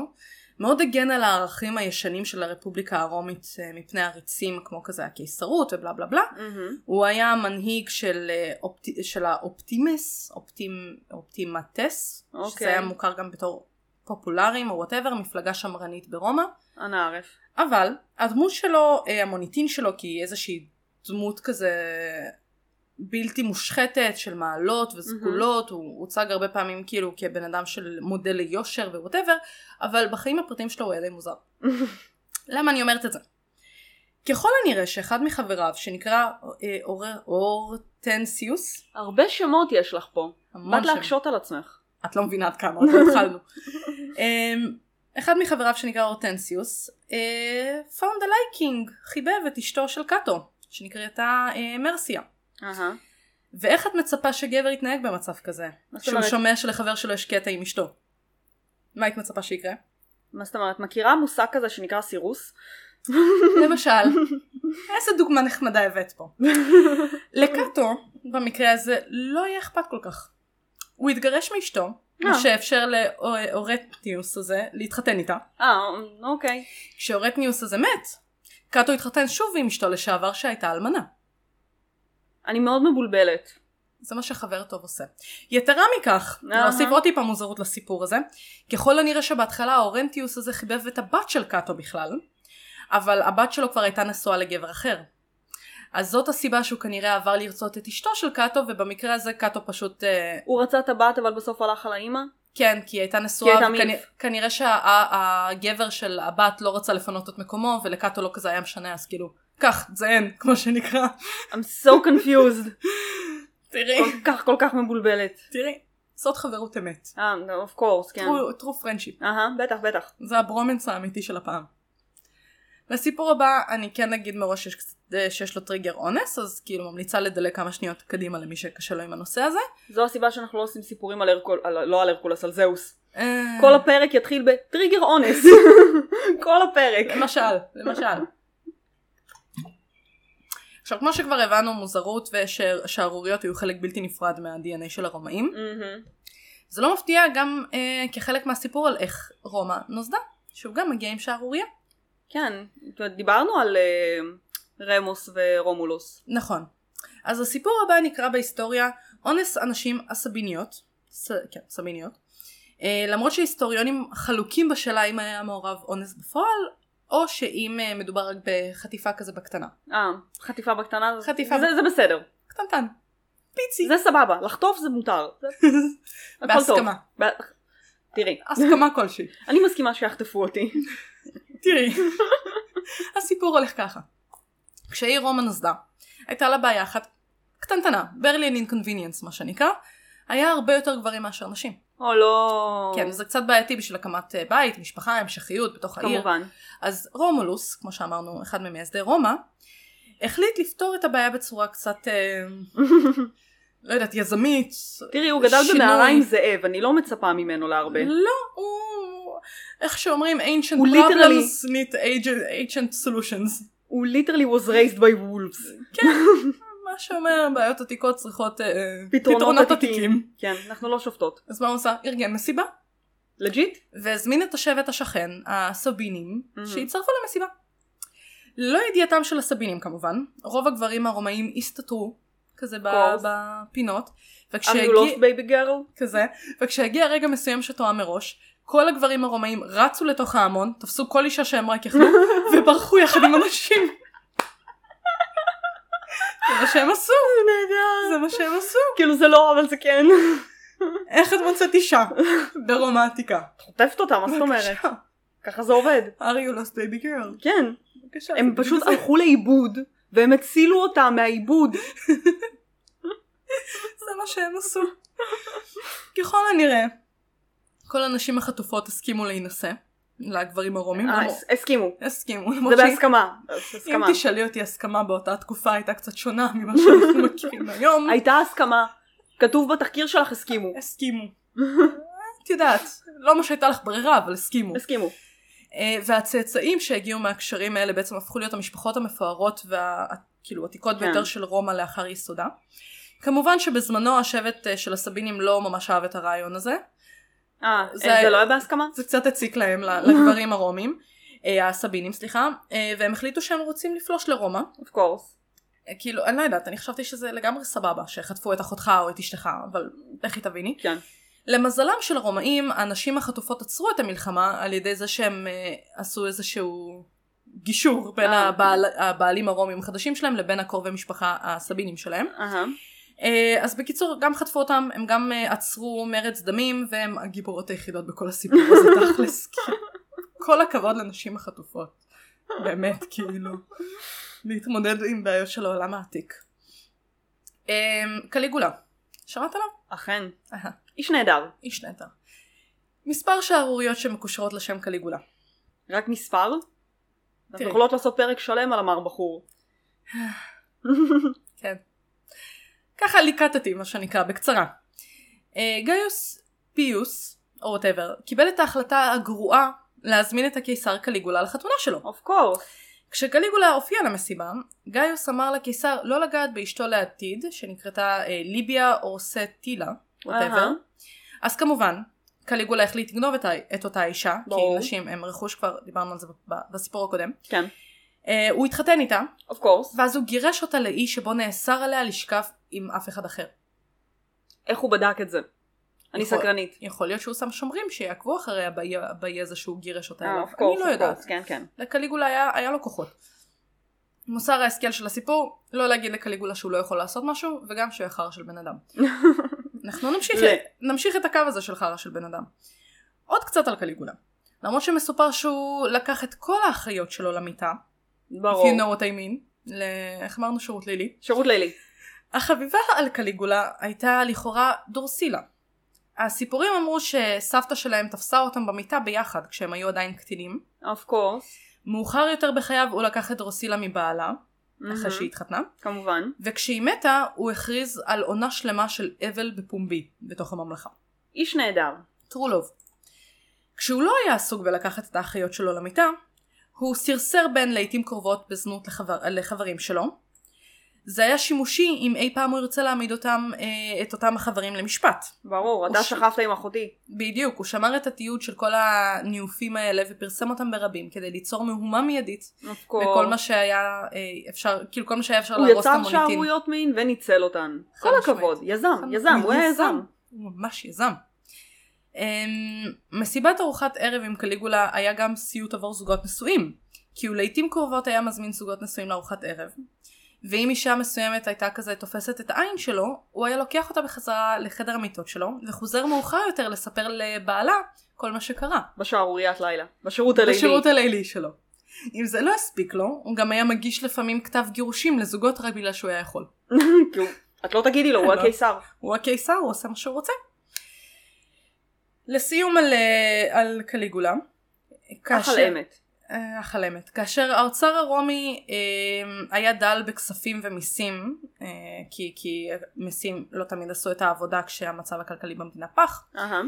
Speaker 1: מאוד הגן על הערכים הישנים של הרפובליקה הרומית אה, מפני עריצים כמו כזה הקיסרות ובלה בלה בלה.
Speaker 2: מהמם.
Speaker 1: הוא היה המנהיג של, אה, אופט, של האופטימס, אופטימ, אופטימטס, okay.
Speaker 2: אוקיי.
Speaker 1: שזה היה מוכר גם בתור פופולרים או וואטאבר, מפלגה שמרנית ברומא,
Speaker 2: אנא ערף.
Speaker 1: אבל הדמות שלו, אה, המוניטין שלו, כי היא איזושהי דמות כזה בלתי מושחתת של מעלות וסגולות, mm-hmm. הוא הוצג הרבה פעמים כאילו כבן אדם של מודל ליושר ווואטאבר, אבל בחיים הפרטיים שלו הוא היה די מוזר. למה אני אומרת את זה? ככל הנראה שאחד מחבריו שנקרא אה, אור- אורטנסיוס,
Speaker 2: הרבה שמות יש לך פה.
Speaker 1: המון
Speaker 2: באת
Speaker 1: שם.
Speaker 2: להקשות על עצמך.
Speaker 1: את לא מבינה עד כמה, עוד
Speaker 2: [laughs]
Speaker 1: לא התחלנו. אמ, אחד מחבריו שנקרא אורטנסיוס, אה, found a liking, חיבב את אשתו של קאטו, שנקראתה אה, מרסיה.
Speaker 2: אהה.
Speaker 1: ואיך את מצפה שגבר יתנהג במצב כזה?
Speaker 2: מה זאת
Speaker 1: שהוא
Speaker 2: אומרת?
Speaker 1: שומע שלחבר שלו יש קטע עם אשתו. מה היית מצפה שיקרה? [laughs]
Speaker 2: מה זאת אומרת? מכירה מושג כזה שנקרא סירוס? [laughs]
Speaker 1: למשל, איזה דוגמה נחמדה הבאת פה. לקאטו, במקרה הזה, לא היה אכפת כל כך. הוא התגרש מאשתו, מה
Speaker 2: אה.
Speaker 1: שאפשר לאורטניוס הזה להתחתן איתה.
Speaker 2: אה, אוקיי.
Speaker 1: כשאורטניוס הזה מת, קאטו התחתן שוב עם אשתו לשעבר שהייתה אלמנה.
Speaker 2: אני מאוד מבולבלת.
Speaker 1: זה מה שחבר טוב עושה. יתרה מכך,
Speaker 2: אהה.
Speaker 1: להוסיף עוד טיפה מוזרות לסיפור הזה, ככל הנראה שבהתחלה האורנטיוס הזה חיבב את הבת של קאטו בכלל, אבל הבת שלו כבר הייתה נשואה לגבר אחר. אז זאת הסיבה שהוא כנראה עבר לרצות את אשתו של קאטו, ובמקרה הזה קאטו פשוט... אה,
Speaker 2: הוא רצה את הבת אבל בסוף הלך על האימא?
Speaker 1: כן, כי היא הייתה נשואה,
Speaker 2: הייתה
Speaker 1: וכנ-
Speaker 2: מילף.
Speaker 1: כנראה שהגבר של הבת לא רצה לפנות את מקומו, ולקאטו לא כזה היה משנה, אז כאילו, קח, תזיין, [laughs] כמו שנקרא.
Speaker 2: I'm so confused.
Speaker 1: תראי,
Speaker 2: כל כך כל כך מבולבלת.
Speaker 1: תראי, זאת חברות אמת.
Speaker 2: אה, of course, כן.
Speaker 1: טרו פרנדשיפ.
Speaker 2: אהה, בטח, בטח.
Speaker 1: זה הברומנס האמיתי של הפעם. לסיפור הבא אני כן אגיד מראש שיש, קצת- אה, שיש לו טריגר אונס אז כאילו ממליצה לדלג כמה שניות קדימה למי שקשה לו עם הנושא הזה.
Speaker 2: זו הסיבה שאנחנו לא עושים סיפורים על הרקול, על, לא על הרקולס, על זהוס.
Speaker 1: אה,
Speaker 2: כל הפרק יתחיל בטריגר אונס. [laughs] כל הפרק.
Speaker 1: למשל, למשל. עכשיו כמו שכבר הבנו מוזרות ושערוריות היו חלק בלתי נפרד מה-DNA של הרומאים.
Speaker 2: מהמם.
Speaker 1: זה לא מפתיע גם אה, כחלק מהסיפור על איך רומא נוסדה, שהוא גם מגיע עם שערוריה.
Speaker 2: כן, זאת אומרת, דיברנו על אה, רמוס ורומולוס.
Speaker 1: נכון. אז הסיפור הבא נקרא בהיסטוריה אונס הנשים הסביניות, ס, כן, סביניות, אה, למרות שהיסטוריונים חלוקים בשאלה אם היה מעורב אונס בפועל, או שאם אה, מדובר רק בחטיפה כזה בקטנה.
Speaker 2: אה, חטיפה בקטנה. זה-
Speaker 1: חטיפה
Speaker 2: זה, זה בסדר.
Speaker 1: קטנטן. [laughs] פיצי.
Speaker 2: זה סבבה, לחטוף זה מותר. זה- הכל טוב.
Speaker 1: בהסכמה.
Speaker 2: ב- תראי,
Speaker 1: הסכמה כלשהי.
Speaker 2: אני מסכימה שיחטפו אותי. [laughs]
Speaker 1: תראי. [laughs] הסיפור הולך ככה. כשהעיר רומא נוסדה, הייתה לה בעיה אחת קטנטנה, ברלין inconvenience מה שנקרא, היה הרבה יותר גברים מאשר נשים.
Speaker 2: או לא.
Speaker 1: כן, זה קצת בעייתי בשביל הקמת אה, בית, משפחה, המשכיות בתוך העיר.
Speaker 2: כמובן.
Speaker 1: אז רומולוס, כמו שאמרנו, אחד ממייסדי רומא, החליט לפתור את הבעיה בצורה קצת,
Speaker 2: [laughs]
Speaker 1: אה, לא יודעת, יזמית.
Speaker 2: תראי, הוא גדל
Speaker 1: שינוי.
Speaker 2: במערה עם זאב, אני לא מצפה ממנו להרבה.
Speaker 1: לא, הוא... איך שאומרים, ancient
Speaker 2: הוא
Speaker 1: problems need agent- ancient solutions.
Speaker 2: הוא literally was raised by wolves.
Speaker 1: מה שאומר, בעיות עתיקות צריכות אה,
Speaker 2: פתרונות
Speaker 1: פתרונות
Speaker 2: עתיקים.
Speaker 1: עתיקים.
Speaker 2: כן, אנחנו לא שופטות.
Speaker 1: אז מה הוא עשה? ארגן מסיבה,
Speaker 2: לג'יט?
Speaker 1: והזמין את השבט השכן, הסבינים,
Speaker 2: Mhm.
Speaker 1: שהצטרפו למסיבה. ללא ידיעתם של הסבינים כמובן, רוב הגברים הרומאים הסתתרו, כזה ב-
Speaker 2: course.
Speaker 1: בפינות,
Speaker 2: I'm you
Speaker 1: וכשהגיע,
Speaker 2: lost baby girl?
Speaker 1: כזה, וכשהגיע רגע מסוים שתואם מראש, כל הגברים הרומאים רצו לתוך ההמון, תפסו כל אישה שהם רק
Speaker 2: [laughs]
Speaker 1: יכלו, וברחו יחד עם הנשים. זה מה שהם עשו.
Speaker 2: Oh
Speaker 1: זה נהדר. זה מה שהם עשו.
Speaker 2: כאילו זה לא, אבל זה כן.
Speaker 1: איך את מוצאת
Speaker 2: [laughs]
Speaker 1: אישה? ברומא העתיקה.
Speaker 2: חוטפת אותה, מה זאת אומרת?
Speaker 1: בבקשה.
Speaker 2: ככה זה עובד.
Speaker 1: are you lost baby girl?
Speaker 2: כן.
Speaker 1: בבקשה.
Speaker 2: הם פשוט הלכו לאיבוד, והם הצילו אותה מהאיבוד.
Speaker 1: זה מה שהם עשו. ככל הנראה, כל הנשים החטופות הסכימו להינשא לגברים הרומים.
Speaker 2: אה,
Speaker 1: למרות-
Speaker 2: הס- הסכימו.
Speaker 1: הסכימו, למרות
Speaker 2: זה
Speaker 1: שהיא-
Speaker 2: בהסכמה.
Speaker 1: אם
Speaker 2: הסכמה.
Speaker 1: תשאלי אותי הסכמה באותה תקופה הייתה קצת שונה ממה שאנחנו
Speaker 2: [laughs]
Speaker 1: מכירים היום.
Speaker 2: הייתה הסכמה. כתוב בתחקיר שלך הסכימו.
Speaker 1: הסכימו. את יודעת, לא מה שהייתה לך ברירה, אבל הסכימו.
Speaker 2: הסכימו.
Speaker 1: אה, והצאצאים שהגיעו מהקשרים האלה בעצם הפכו להיות המשפחות המפוארות והכאילו עתיקות
Speaker 2: כן.
Speaker 1: ביותר של רומא לאחר ייסודה. כמובן שבזמנו השבט אה, של הסבינים לא ממש אהב את הרעיון הזה.
Speaker 2: אה,
Speaker 1: זה-
Speaker 2: זה לא היה בהסכמה?
Speaker 1: זה קצת הציק להם ל- לגברים הרומים, אה, הסבינים סליחה, אה, והם החליטו שהם רוצים לפלוש לרומא.
Speaker 2: of course.
Speaker 1: אה, כאילו, אני לא יודעת, אני חשבתי שזה לגמרי סבבה שחטפו את אחותך או את אשתך, אבל לכי תביני.
Speaker 2: כן.
Speaker 1: למזלם של הרומאים, הנשים החטופות עצרו את המלחמה על ידי זה שהם אה, עשו איזשהו גישור בין
Speaker 2: אה.
Speaker 1: הבעל, הבעלים הרומים החדשים שלהם לבין הקרובי משפחה הסבינים שלהם.
Speaker 2: אהה.
Speaker 1: אה, אז בקיצור, גם חטפו אותם, הם גם אה, עצרו מרץ דמים, והם הגיבורות היחידות בכל הסיפור הזה תכלס. כאילו. כל הכבוד לנשים החטופות. באמת, כאילו. להתמודד עם בעיות של העולם העתיק. אה, קליגולה. שמעת עליו?
Speaker 2: אכן.
Speaker 1: אהה.
Speaker 2: איש נהדר.
Speaker 1: איש נהדר. מספר שערוריות שמקושרות לשם קליגולה.
Speaker 2: רק מספר? אנחנו
Speaker 1: תראי.
Speaker 2: יכולות לעשות פרק שלם על המר בחור.
Speaker 1: כן. ככה ליקטתי מה שנקרא בקצרה. אה, גאיוס פיוס או וואטאבר קיבל את ההחלטה הגרועה להזמין את הקיסר קליגולה לחתונה שלו.
Speaker 2: of course.
Speaker 1: כשקליגולה הופיע למסיבה גאיוס אמר לקיסר לא לגעת באשתו לעתיד שנקראתה אה, ליביה או סטילה וואטאבר.
Speaker 2: אהה.
Speaker 1: אז כמובן קליגולה החליט לגנוב את, ה- את אותה אישה
Speaker 2: ברור.
Speaker 1: כי נשים הם רכוש כבר דיברנו על זה ב- ב- בסיפור הקודם.
Speaker 2: כן.
Speaker 1: אה, הוא התחתן איתה
Speaker 2: of course.
Speaker 1: ואז הוא גירש אותה לאי שבו נאסר עליה לשכב עם אף אחד אחר.
Speaker 2: איך הוא בדק את זה? אני
Speaker 1: יכול-
Speaker 2: סקרנית.
Speaker 1: יכול להיות שהוא שם שומרים שיעקבו אחריה באי- באי הזה שהוא גירש אותה
Speaker 2: אה,
Speaker 1: אליו.
Speaker 2: of course,
Speaker 1: אני לא
Speaker 2: of
Speaker 1: יודעת.
Speaker 2: course. כן, כן.
Speaker 1: לקליגולה היה, היה לו כוחות. מוסר ההשכל של הסיפור, לא להגיד לקליגולה שהוא לא יכול לעשות משהו, וגם שהוא יהיה חרא של בן
Speaker 2: [laughs]
Speaker 1: אדם. אנחנו נמשיך,
Speaker 2: ל-
Speaker 1: נמשיך את הקו הזה של חרא של בן אדם. עוד קצת על קליגולה. למרות שמסופר שהוא לקח את כל האחריות שלו למיטה,
Speaker 2: ברור.
Speaker 1: if you know what I mean, ל... איך אמרנו שירות לילי?
Speaker 2: שירות לילי.
Speaker 1: החביבה על קליגולה הייתה לכאורה דורסילה. הסיפורים אמרו שסבתא שלהם תפסה אותם במיטה ביחד כשהם היו עדיין קטינים.
Speaker 2: אוף קורס.
Speaker 1: מאוחר יותר בחייו הוא לקח את דורסילה מבעלה, אחרי שהיא התחתנה,
Speaker 2: כמובן.
Speaker 1: וכשהיא מתה הוא הכריז על עונה שלמה של אבל בפומבי בתוך הממלכה.
Speaker 2: איש נהדר.
Speaker 1: טרולוב. כשהוא לא היה עסוק בלקחת את האחיות שלו למיטה, הוא סרסר בין לעיתים קרובות בזנות לחבר, לחברים שלו. זה היה שימושי אם אי פעם הוא ירצה להעמיד אותם, אה, את אותם החברים למשפט.
Speaker 2: ברור, אתה
Speaker 1: אוש.
Speaker 2: שכבת עם אחותי.
Speaker 1: בדיוק, הוא שמר את התיעוד של כל הניאופים האלה ופרסם אותם ברבים כדי ליצור מהומה מיידית
Speaker 2: אוף קורס.
Speaker 1: בכל מה שהיה אה, אפשר, כאילו כל מה שהיה אפשר
Speaker 2: הוא
Speaker 1: להרוס את
Speaker 2: יצר
Speaker 1: המוניטין.
Speaker 2: שערוריות מין וניצל אותן.
Speaker 1: חד
Speaker 2: כל
Speaker 1: משמעית.
Speaker 2: הכבוד. יזם,
Speaker 1: חד-
Speaker 2: יזם, הוא היה יזם.
Speaker 1: הוא ממש יזם. אמ, מסיבת ארוחת ערב עם קליגולה היה גם סיוט עבור זוגות נשואים, כי הוא לעיתים קרובות היה מזמין זוגות נשואים לארוחת ערב, ואם אישה מסוימת הייתה כזה תופסת את העין שלו, הוא היה לוקח אותה בחזרה לחדר המיטות שלו, וחוזר מאוחר יותר לספר לבעלה כל מה שקרה,
Speaker 2: בשערוריית לילה. בשירות הלילי. [laughs]
Speaker 1: בשירות הלילי שלו. אם זה לא הספיק לו, הוא גם היה מגיש לפעמים כתב גירושים לזוגות רק בגלל שהוא היה יכול.
Speaker 2: כאילו, את לא תגידי לו, הוא
Speaker 1: לא.
Speaker 2: הקיסר.
Speaker 1: הוא הקיסר, הוא עושה מה שהוא רוצה. לסיום על, אה, על קליגולה.
Speaker 2: ככה
Speaker 1: כאשר-
Speaker 2: לאמת.
Speaker 1: אה, החלמת. כאשר האוצר הרומי אה, היה דל בכספים ומיסים, אה, כי, כי מיסים לא תמיד עשו את העבודה כשהמצב הכלכלי במדינה פח,
Speaker 2: אהה.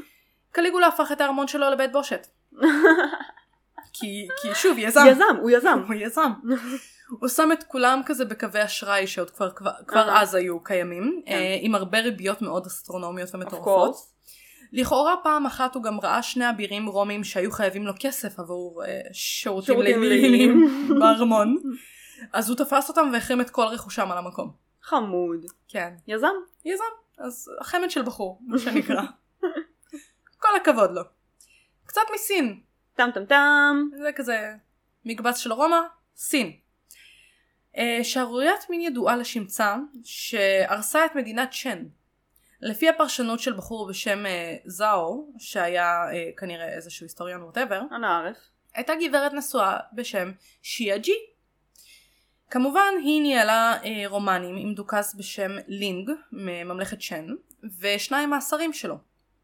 Speaker 1: קליגולה הפך את הארמון שלו לבית בושת. כי, כי שוב, יזם.
Speaker 2: יזם, הוא יזם.
Speaker 1: הוא יזם. הוא שם את כולם כזה בקווי אשראי שעוד כבר, כבר, כבר
Speaker 2: אהה.
Speaker 1: אז היו קיימים,
Speaker 2: כן.
Speaker 1: אה, עם הרבה ריביות מאוד אסטרונומיות
Speaker 2: אוף
Speaker 1: ומטורפות.
Speaker 2: קורס.
Speaker 1: לכאורה פעם אחת הוא גם ראה שני אבירים רומים שהיו חייבים לו כסף עבור אה, שירותים
Speaker 2: שירותים
Speaker 1: ליליים
Speaker 2: ליליים.
Speaker 1: [laughs] בארמון, אז הוא תפס אותם והחרים את כל רכושם על המקום.
Speaker 2: חמוד.
Speaker 1: כן,
Speaker 2: יזם.
Speaker 1: יזם, אז חמד של בחור, מה שנקרא. [laughs] כל הכבוד לו. קצת מסין,
Speaker 2: טם טם טם.
Speaker 1: זה כזה מקבץ של רומא, סין. אה, שערוריית מין ידועה לשמצה שהרסה את מדינת צ'ן. לפי הפרשנות של בחור בשם אה, זאו, שהיה אה, כנראה איזשהו היסטוריון ווטאבר,
Speaker 2: אנא ערף.
Speaker 1: הייתה גברת נשואה בשם שיה ג'י. כמובן היא ניהלה אה, רומנים עם דוכס בשם לינג מממלכת צ'ן, ושניים מהשרים שלו.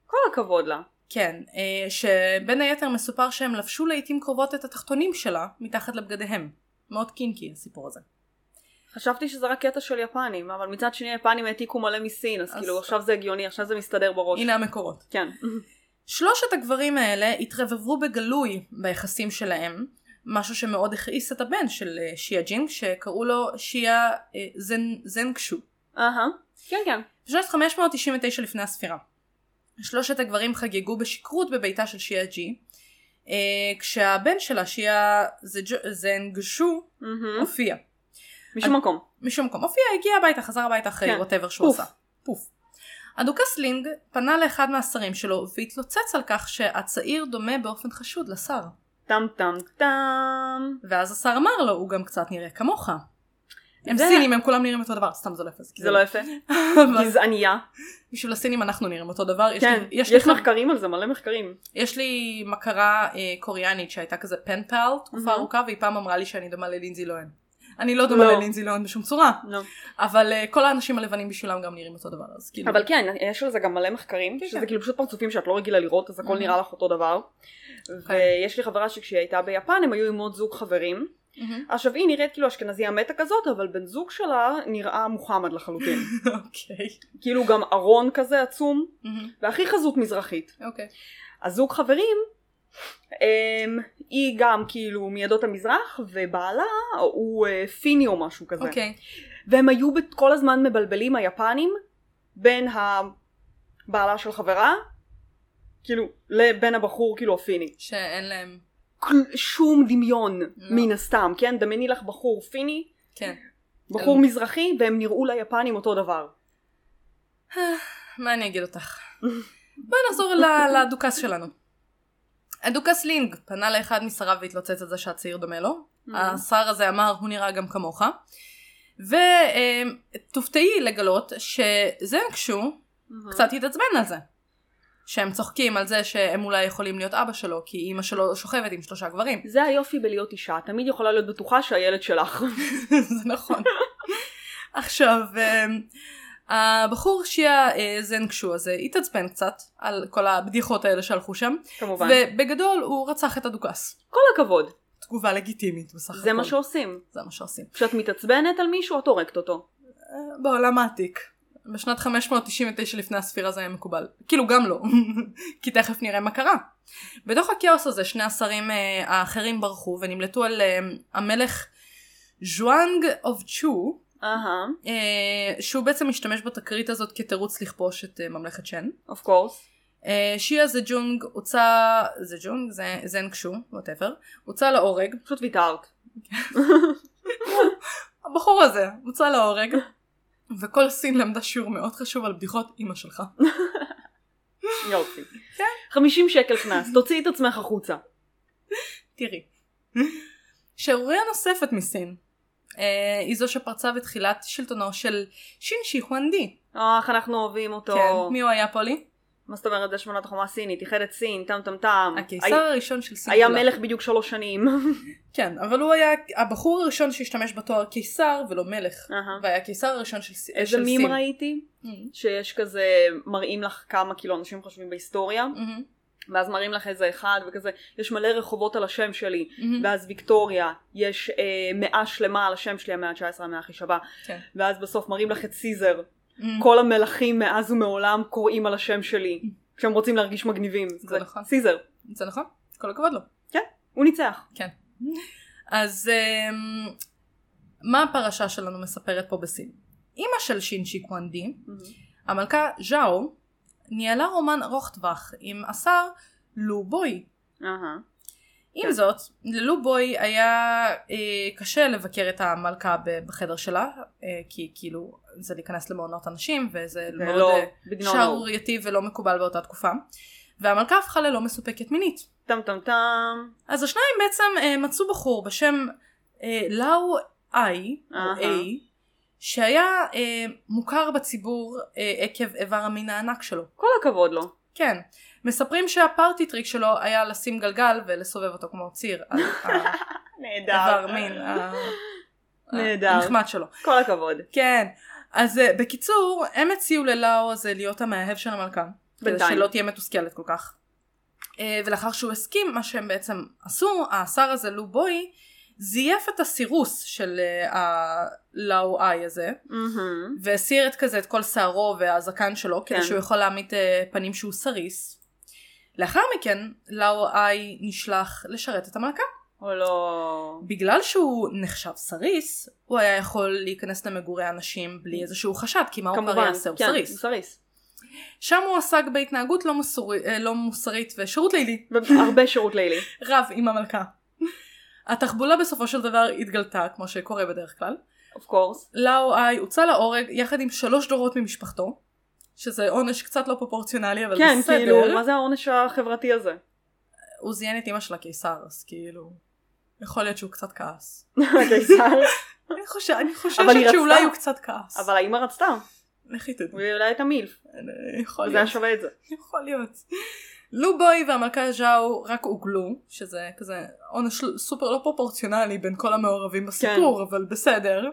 Speaker 2: כל הכבוד לה.
Speaker 1: כן, אה, שבין היתר מסופר שהם לבשו לעיתים קרובות את התחתונים שלה מתחת לבגדיהם. מאוד קינקי הסיפור הזה.
Speaker 2: חשבתי שזה רק קטע של יפנים, אבל מצד שני יפנים העתיקו מלא מסין, אז
Speaker 1: אז-
Speaker 2: כאילו עכשיו זה הגיוני, עכשיו זה מסתדר בראש.
Speaker 1: הנה המקורות.
Speaker 2: כן.
Speaker 1: שלושת הגברים האלה התרבבו בגלוי ביחסים שלהם, משהו שמאוד הכעיס את הבן של אה, שיה ג'ינג, שקראו לו שיה אה, זן, זנקשו.
Speaker 2: אהה. כן כן.
Speaker 1: בשנת 599 לפני הספירה. שלושת הגברים חגגו בשכרות בביתה של שיה ג'י, אה, כשהבן שלה, שיה זג'- זנגשו,
Speaker 2: מהמם.
Speaker 1: הופיע.
Speaker 2: משום מקום.
Speaker 1: משום מקום. הופיע, הגיע הביתה, חזר הביתה אחרי
Speaker 2: כן.
Speaker 1: ווטאבר שהוא
Speaker 2: פוף.
Speaker 1: עשה. פוף. הדוכס לינג פנה לאחד מהשרים שלו והתלוצץ על כך שהצעיר דומה באופן חשוד לשר.
Speaker 2: טם טם טם.
Speaker 1: ואז השר אמר לו, הוא גם קצת נראה כמוך. הם
Speaker 2: זה-
Speaker 1: סינים, הם כולם נראים אותו דבר, סתם זולף את זה. כי
Speaker 2: זה לא יפה.
Speaker 1: אה. אבל
Speaker 2: גזענייה.
Speaker 1: [laughs] בשביל הסינים אנחנו נראים אותו דבר. יש
Speaker 2: כן.
Speaker 1: לי- יש לי
Speaker 2: יש
Speaker 1: חב-
Speaker 2: מחקרים על זה, מלא מחקרים.
Speaker 1: יש לי מכרה אה, קוריאנית שהייתה כזה פנפל
Speaker 2: מהמם.
Speaker 1: תקופה ארוכה, והיא פעם אמרה לי שאני דומה ללינזי לוהן. אני לא
Speaker 2: לא.
Speaker 1: דומה ללינזי לוהן בשום צורה,
Speaker 2: לא.
Speaker 1: אבל אה, כל האנשים הלבנים בשבילם גם נראים אותו דבר, אז כאילו...
Speaker 2: אבל כן, יש על זה גם מלא מחקרים,
Speaker 1: כן,
Speaker 2: שזה
Speaker 1: כן.
Speaker 2: כאילו פשוט פרצופים שאת לא רגילה לראות, אז הכל
Speaker 1: Mhm.
Speaker 2: נראה לך אותו דבר.
Speaker 1: כן.
Speaker 2: ויש לי חברה שכשהיא הייתה ביפן, הם היו עם עוד זוג חברים.
Speaker 1: מהמם.
Speaker 2: עכשיו היא נראית כאילו אשכנזיה מתה כזאת, אבל בן זוג שלה נראה מוחמד לחלוטין.
Speaker 1: אוקיי.
Speaker 2: כאילו גם ארון כזה עצום,
Speaker 1: מהמם.
Speaker 2: והכי חזות מזרחית.
Speaker 1: אוקיי.
Speaker 2: הזוג חברים, אמ, היא גם כאילו מעדות המזרח, ובעלה הוא אה, פיני או משהו כזה.
Speaker 1: אוקיי.
Speaker 2: והם היו בת- כל הזמן מבלבלים היפנים בין הבעלה של חברה, כאילו, לבין הבחור כאילו הפיני.
Speaker 1: שאין להם...
Speaker 2: כל- שום דמיון
Speaker 1: לא.
Speaker 2: מן הסתם, כן? דמייני לך בחור פיני,
Speaker 1: כן.
Speaker 2: בחור
Speaker 1: כן.
Speaker 2: מזרחי, והם נראו ליפנים אותו דבר.
Speaker 1: מה אני אגיד אותך? בואי נחזור ל- לדוכס שלנו. הדוכס לינג פנה לאחד משריו והתלוצץ על זה שהצעיר דומה לו, השר הזה אמר, הוא נראה גם כמוך. ותופתעי לגלות שזנקשו קצת התעצבן על זה. שהם צוחקים על זה שהם אולי יכולים להיות אבא שלו, כי אימא שלו שוכבת עם שלושה גברים.
Speaker 2: זה היופי בלהיות אישה, את תמיד יכולה להיות בטוחה שהילד שלך. [laughs]
Speaker 1: [laughs] זה נכון. עכשיו, אמ, הבחור שיה אה, זנקשו הזה התעצבן קצת על כל הבדיחות האלה שהלכו שם,
Speaker 2: כמובן.
Speaker 1: ובגדול הוא רצח את הדוכס.
Speaker 2: כל הכבוד,
Speaker 1: תגובה לגיטימית בסך הכל.
Speaker 2: זה מה שעושים.
Speaker 1: זה מה שעושים.
Speaker 2: כשאת מתעצבנת על מישהו את הורגת אותו.
Speaker 1: אה, בעולם העתיק. בשנת 599 לפני הספירה זה היה מקובל. כאילו גם לא. [laughs] כי תכף נראה מה קרה. בתוך הכאוס הזה שני השרים אה, האחרים ברחו ונמלטו על אה, המלך ז'ואנג אוף צ'ו,
Speaker 2: אהה,
Speaker 1: אה, שהוא בעצם משתמש בתקרית הזאת כתירוץ לכבוש את אה, ממלכת שן.
Speaker 2: אוף קורס.
Speaker 1: אה, שיה זה ג'ונג הוצא, זה ג'ונג? זה זנקשו, ווטאבר, הוצא להורג.
Speaker 2: פשוט ויתרת.
Speaker 1: הבחור הזה הוצא
Speaker 2: [laughs]
Speaker 1: להורג, וכל סין למדה שיעור מאוד חשוב על בדיחות אימא
Speaker 2: [laughs]
Speaker 1: שלך.
Speaker 2: יופי.
Speaker 1: כן.
Speaker 2: 50 שקל קנס, תוציאי את עצמך החוצה.
Speaker 1: תראי. שערוריה נוספת מסין, אה, היא זו שפרצה בתחילת שלטונו של שינשי חואנדי.
Speaker 2: אה, איך אנחנו אוהבים אותו.
Speaker 1: כן, מי הוא היה פה לי?
Speaker 2: מה זאת אומרת זה שמונת החומה הסינית, איחד את סין, טם טם טם.
Speaker 1: הקיסר הראשון של סין.
Speaker 2: היה
Speaker 1: כולה.
Speaker 2: מלך בדיוק
Speaker 1: [laughs]
Speaker 2: שלוש שנים.
Speaker 1: כן, אבל הוא היה הבחור הראשון שהשתמש בתואר קיסר ולא מלך.
Speaker 2: אהה.
Speaker 1: והיה הקיסר הראשון של, סי-
Speaker 2: איזה
Speaker 1: של סין. Mm-hmm.
Speaker 2: מים ראיתי? שיש כזה, מראים לך כמה כאילו אנשים חושבים בהיסטוריה,
Speaker 1: מהמם,
Speaker 2: ואז מראים לך איזה אחד וכזה, יש מלא רחובות על השם שלי,
Speaker 1: מהמם.
Speaker 2: Mm-hmm. ואז ויקטוריה, יש אה, מאה שלמה על השם שלי, המאה ה-19, המאה הכי שווה,
Speaker 1: כן. Mm-hmm.
Speaker 2: ואז בסוף מראים לך את סיזר,
Speaker 1: מהמם.
Speaker 2: כל המלכים מאז ומעולם קוראים על השם שלי, כשהם רוצים להרגיש מגניבים, זה
Speaker 1: נכון.
Speaker 2: סיזר,
Speaker 1: זה נכון? כל הכבוד לו.
Speaker 2: הוא ניצח.
Speaker 1: אז אמ, מה הפרשה שלנו מספרת פה בסין? אימא של שינשי קוונדי, המלכה ז'או, ניהלה רומן ארוך טווח עם השר לו בוי.
Speaker 2: אהה. כן.
Speaker 1: עם זאת, ללו בוי היה אה, קשה לבקר את המלכה ב- בחדר שלה, אה, כי כאילו זה להיכנס למעונות אנשים וזה מאוד
Speaker 2: ולא,
Speaker 1: אה,
Speaker 2: בגנון אור.
Speaker 1: שערורייתי ולא מקובל באותה תקופה. והמלכה הפכה ללא מסופקת מינית.
Speaker 2: טם טם טם.
Speaker 1: אז השניים בעצם אה, מצאו בחור בשם אה, לאו איי, או
Speaker 2: אהה.
Speaker 1: איי, שהיה אה, מוכר בציבור אה, עקב איבר המין הענק שלו.
Speaker 2: כל הכבוד לו.
Speaker 1: כן. מספרים שהפארטי טריק שלו היה לשים גלגל ולסובב אותו כמו ציר
Speaker 2: [laughs]
Speaker 1: על האיבר מין ה-
Speaker 2: נהדר.
Speaker 1: הנחמד שלו.
Speaker 2: כל הכבוד.
Speaker 1: כן. אז אה, בקיצור, הם הציעו ללאו הזה להיות המאהב של המלכה. כדי
Speaker 2: בינתיים.
Speaker 1: שלא תהיה מתוסכלת כל כך. אה, ולאחר שהוא הסכים, מה שהם בעצם עשו, השר הזה, לו בוי, זייף את הסירוס של אה, הלאו איי הזה, Mm-hmm.
Speaker 2: מהמם.
Speaker 1: והסיר את כזה את כל שערו והזקן שלו,
Speaker 2: כן.
Speaker 1: כדי שהוא יכול להעמיד אה, פנים שהוא סריס. לאחר מכן, לאו איי נשלח לשרת את המלכה.
Speaker 2: או לא.
Speaker 1: בגלל שהוא נחשב סריס, הוא היה יכול להיכנס למגורי אנשים בלי איזשהו חשד, כי מה הוא כבר יעשה? הוא
Speaker 2: כן,
Speaker 1: סריס.
Speaker 2: סריס.
Speaker 1: שם הוא עסק בהתנהגות לא, מוסורי, אה, לא מוסרית ושירות לילי,
Speaker 2: הרבה שירות לילי.
Speaker 1: [laughs] רב עם המלכה. התחבולה בסופו של דבר התגלתה, כמו שקורה בדרך כלל.
Speaker 2: אוף קורס.
Speaker 1: לאו איי הוצא להורג יחד עם שלוש דורות ממשפחתו, שזה עונש קצת לא פרופורציונלי, אבל
Speaker 2: כן,
Speaker 1: בסדר.
Speaker 2: כאילו, מה זה העונש החברתי הזה?
Speaker 1: הוא זיין את אמא של הקיסר, אז כאילו... יכול להיות שהוא קצת כעס. [laughs]
Speaker 2: הקיסר.
Speaker 1: אני חוששת אני חוששת
Speaker 2: אבל היא רצתה.
Speaker 1: שאולי הוא קצת כעס.
Speaker 2: [laughs] אבל האמא רצתה,
Speaker 1: לכי תדעי.
Speaker 2: והיא אולי הייתה מילף.
Speaker 1: אה, יכול
Speaker 2: זה היה
Speaker 1: להיות.
Speaker 2: שווה את זה.
Speaker 1: [laughs] יכול להיות. לו בוי והמלכה ז'או רק עוגלו, שזה כזה עונש סופר לא פרופורציונלי בין כל המעורבים בסיפור, אבל בסדר.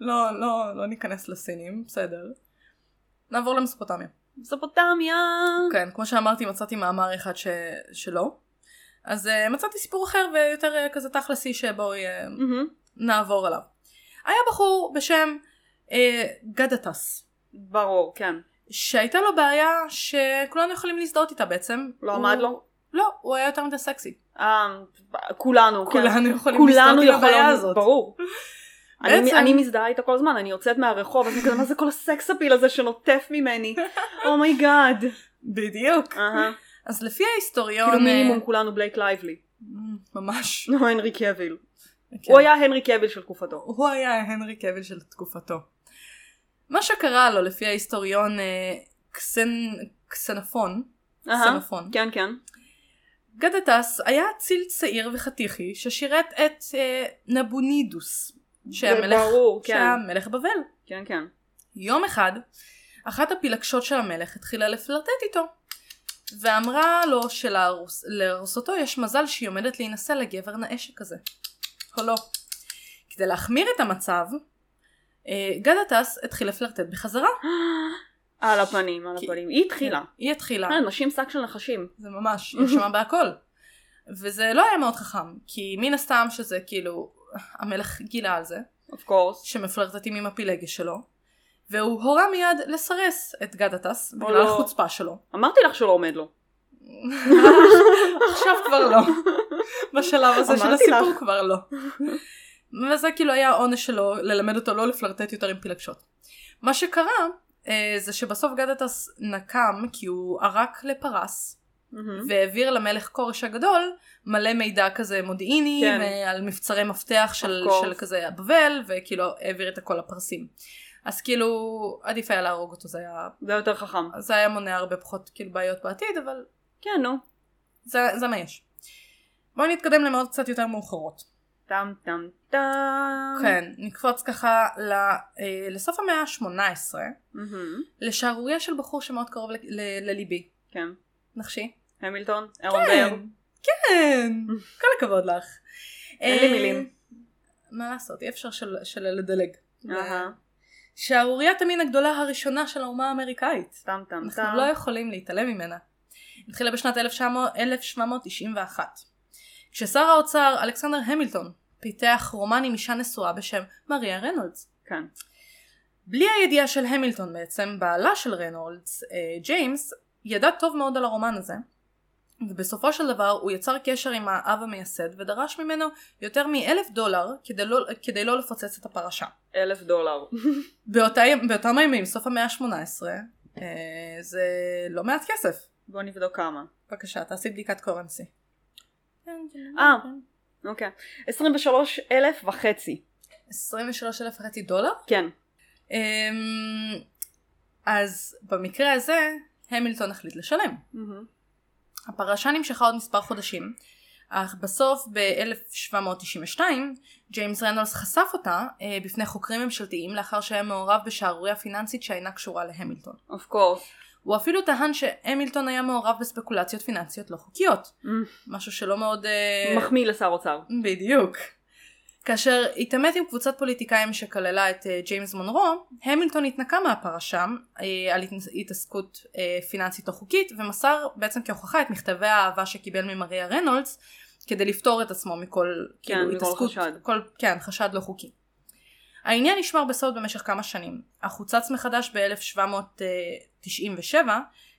Speaker 1: לא, לא, לא ניכנס לסינים, בסדר. נעבור למסופוטמיה.
Speaker 2: מספוטמיה.
Speaker 1: כן, כמו שאמרתי, מצאתי מאמר אחד ש... שלא. אז uh, מצאתי סיפור אחר ויותר uh, כזה תכלסי שבו uh,
Speaker 2: מהמם.
Speaker 1: נעבור עליו. היה בחור בשם uh, גדטס.
Speaker 2: ברור, כן.
Speaker 1: שהייתה לו בעיה שכולנו יכולים להזדהות איתה בעצם.
Speaker 2: לא
Speaker 1: הוא-
Speaker 2: עמד לו?
Speaker 1: לא, הוא היה יותר מדי סקסי.
Speaker 2: אה, כולנו, כן.
Speaker 1: כולנו יכולים
Speaker 2: כולנו
Speaker 1: להזדהות עם הבעיה
Speaker 2: יכולים,
Speaker 1: הזאת. [laughs]
Speaker 2: ברור. אני-
Speaker 1: בעצם-
Speaker 2: אני מזדהה איתה כל הזמן, אני יוצאת מהרחוב, אני כזה, מה זה כל הסקס אפיל הזה שנוטף
Speaker 1: [laughs]
Speaker 2: ממני? אומייגאד.
Speaker 1: בדיוק.
Speaker 2: אהה.
Speaker 1: אז לפי ההיסטוריון...
Speaker 2: כאילו
Speaker 1: אה,
Speaker 2: מינימום כולנו בלייק לייבלי.
Speaker 1: [laughs] ממש.
Speaker 2: לא הנרי קביל.
Speaker 1: כן.
Speaker 2: הוא היה הנרי קביל של תקופתו.
Speaker 1: הוא היה הנרי קבל של תקופתו. מה שקרה לו לפי ההיסטוריון אה, קסנ... קסנפון,
Speaker 2: אהה.
Speaker 1: קסנפון,
Speaker 2: כן כן.
Speaker 1: גדטס היה אציל צעיר וחתיכי ששירת את אה, נבונידוס, שהיה
Speaker 2: זה
Speaker 1: מלך,
Speaker 2: ברור, כן.
Speaker 1: שהיה מלך בבל.
Speaker 2: כן, [gasps] כן.
Speaker 1: יום אחד, אחת הפילגשות של המלך התחילה לפלרטט איתו, ואמרה לו שלארוסתו יש מזל שהיא עומדת להינשא לגבר נאה שכזה. או לא. כדי להחמיר את המצב, אה, גדטס התחיל לפלרטט בחזרה.
Speaker 2: על הפנים, על
Speaker 1: כי-
Speaker 2: הפנים. היא התחילה.
Speaker 1: היא התחילה.
Speaker 2: אה, נשים שק של נחשים.
Speaker 1: זה ממש, היא אשמה בהכל. וזה לא היה מאוד חכם, כי מן הסתם שזה כאילו, המלך גילה על זה,
Speaker 2: of course.
Speaker 1: שמפלרטטים עם הפילגש שלו, והוא הורה מיד לסרס את גדטס,
Speaker 2: או
Speaker 1: בגלל
Speaker 2: לא.
Speaker 1: החוצפה שלו.
Speaker 2: אמרתי לך שלא עומד לו.
Speaker 1: עכשיו כבר לא. בשלב הזה של
Speaker 2: אמרתי
Speaker 1: הסיפור
Speaker 2: לך.
Speaker 1: כבר לא. וזה כאילו היה העונש שלו ללמד אותו לא לפלרטט יותר עם פילגשות. מה שקרה אה, זה שבסוף גדטס נקם כי הוא ערק לפרס
Speaker 2: מהמם.
Speaker 1: והעביר למלך כורש הגדול מלא מידע כזה מודיעיני
Speaker 2: כן.
Speaker 1: ועל מבצרי מפתח של,
Speaker 2: Of course.
Speaker 1: של כזה הבבל וכאילו העביר את הכל לפרסים. אז כאילו עדיף היה להרוג אותו זה היה,
Speaker 2: זה היה יותר חכם.
Speaker 1: זה היה מונע הרבה פחות כאילו בעיות בעתיד אבל
Speaker 2: כן, נו.
Speaker 1: זה, זה מה יש. בואו נתקדם למאות קצת יותר מאוחרות.
Speaker 2: טם טם טם.
Speaker 1: כן, נקפוץ ככה ל, אה, לסוף המאה ה-18,
Speaker 2: מהמם.
Speaker 1: לשערורייה של בחור שמאוד קרוב ל, ל, לליבי.
Speaker 2: כן.
Speaker 1: נחשי?
Speaker 2: המילטון, אירון באר.
Speaker 1: כן, כל הכבוד לך.
Speaker 2: אין לי
Speaker 1: אה,
Speaker 2: מילים.
Speaker 1: מה לעשות, אי אפשר של, של לדלג.
Speaker 2: אהה.
Speaker 1: שערוריית המין הגדולה הראשונה של האומה האמריקאית.
Speaker 2: טם טם
Speaker 1: אנחנו
Speaker 2: טם.
Speaker 1: לא יכולים להתעלם ממנה. התחילה בשנת 1900 1791, כששר האוצר אלכסנדר המילטון פיתח רומן עם אישה נשואה בשם מריה רנולדס.
Speaker 2: כן.
Speaker 1: בלי הידיעה של המילטון בעצם, בעלה של רנולדס, אה, ג'יימס, ידע טוב מאוד על הרומן הזה, ובסופו של דבר הוא יצר קשר עם האב המייסד ודרש ממנו יותר מאלף דולר כדי לא, כדי לא לפוצץ את הפרשה.
Speaker 2: אלף דולר.
Speaker 1: באותה, באותם הימים, סוף המאה ה-18, אה, זה לא מעט כסף.
Speaker 2: בוא נבדוק כמה.
Speaker 1: בבקשה, תעשי בדיקת קורנסי.
Speaker 2: אה. אוקיי. 23 אלף וחצי.
Speaker 1: 23 אלף וחצי דולר?
Speaker 2: כן.
Speaker 1: אמ, אז במקרה הזה, המילטון החליט לשלם. הפרשה נמשכה עוד מספר חודשים, אך בסוף ב-1792, ג'יימס רנולס חשף אותה אה, בפני חוקרים ממשלתיים לאחר שהיה מעורב בשערורייה פיננסית שאינה קשורה להמילטון.
Speaker 2: אוף קורס.
Speaker 1: הוא אפילו טען שהמילטון היה מעורב בספקולציות פיננסיות לא חוקיות, משהו שלא מאוד... אה,
Speaker 2: אה. מחמיא לשר אוצר.
Speaker 1: בדיוק. כאשר התעמת עם קבוצת פוליטיקאים שכללה את אה, ג'יימס מונרו, המילטון התנקה מהפרשה אה, על התנס- התעסקות אה, פיננסית לא חוקית, ומסר בעצם כהוכחה את מכתבי האהבה שקיבל ממריה רנולדס, כדי לפטור את עצמו מכל,
Speaker 2: כן,
Speaker 1: כאילו,
Speaker 2: מכל
Speaker 1: התעסקות,
Speaker 2: חשד.
Speaker 1: כל, כן, חשד לא חוקי. העניין נשמר בסוד במשך כמה שנים, אך הוצץ מחדש ב-1797,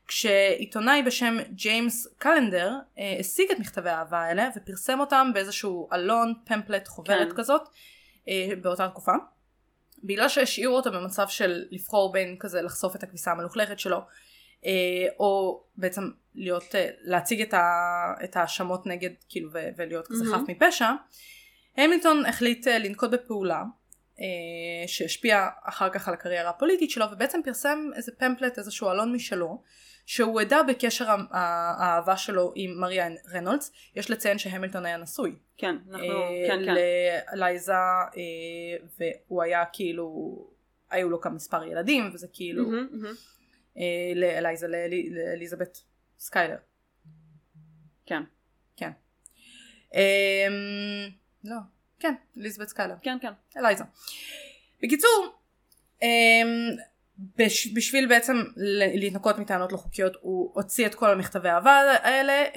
Speaker 1: כשעיתונאי בשם ג'יימס קלנדר אה, השיג את מכתבי האהבה האלה ופרסם אותם באיזשהו אלון, פמפלט, חוברת
Speaker 2: כן.
Speaker 1: כן. כזאת אה, באותה תקופה. בגלל שהשאירו אותו במצב של לבחור בין כזה לחשוף את הכביסה המלוכלכת שלו אה, או בעצם להיות, אה, להציג את ה- את ההאשמות נגד כאילו ו- ולהיות כזה
Speaker 2: מהמם.
Speaker 1: חף מפשע, המילטון החליט אה, לנקוט בפעולה אה, שהשפיעה אחר כך על הקריירה הפוליטית שלו ובעצם פרסם איזה פמפלט, איזשהו עלון משלו שהוא עדה בקשר ה- ה- האהבה שלו עם מריה רנולדס, יש לציין שהמילטון היה נשוי
Speaker 2: כן, אנחנו...
Speaker 1: אה,
Speaker 2: כן, כן.
Speaker 1: ללייזה אה, והוא היה כאילו, היו לו גם מספר ילדים וזה כאילו
Speaker 2: מהמם, מהמם.
Speaker 1: אה, לאלייזה, לאלי- לאליזבת סקיילר.
Speaker 2: כן.
Speaker 1: אמ, לא, כן, אליזבת סקיילר,
Speaker 2: כן, כן.
Speaker 1: אלייזה. בקיצור, אמ, בש, בשביל בעצם ל- להתנקות מטענות לא חוקיות הוא הוציא את כל המכתבי האהבה האלה, אמ,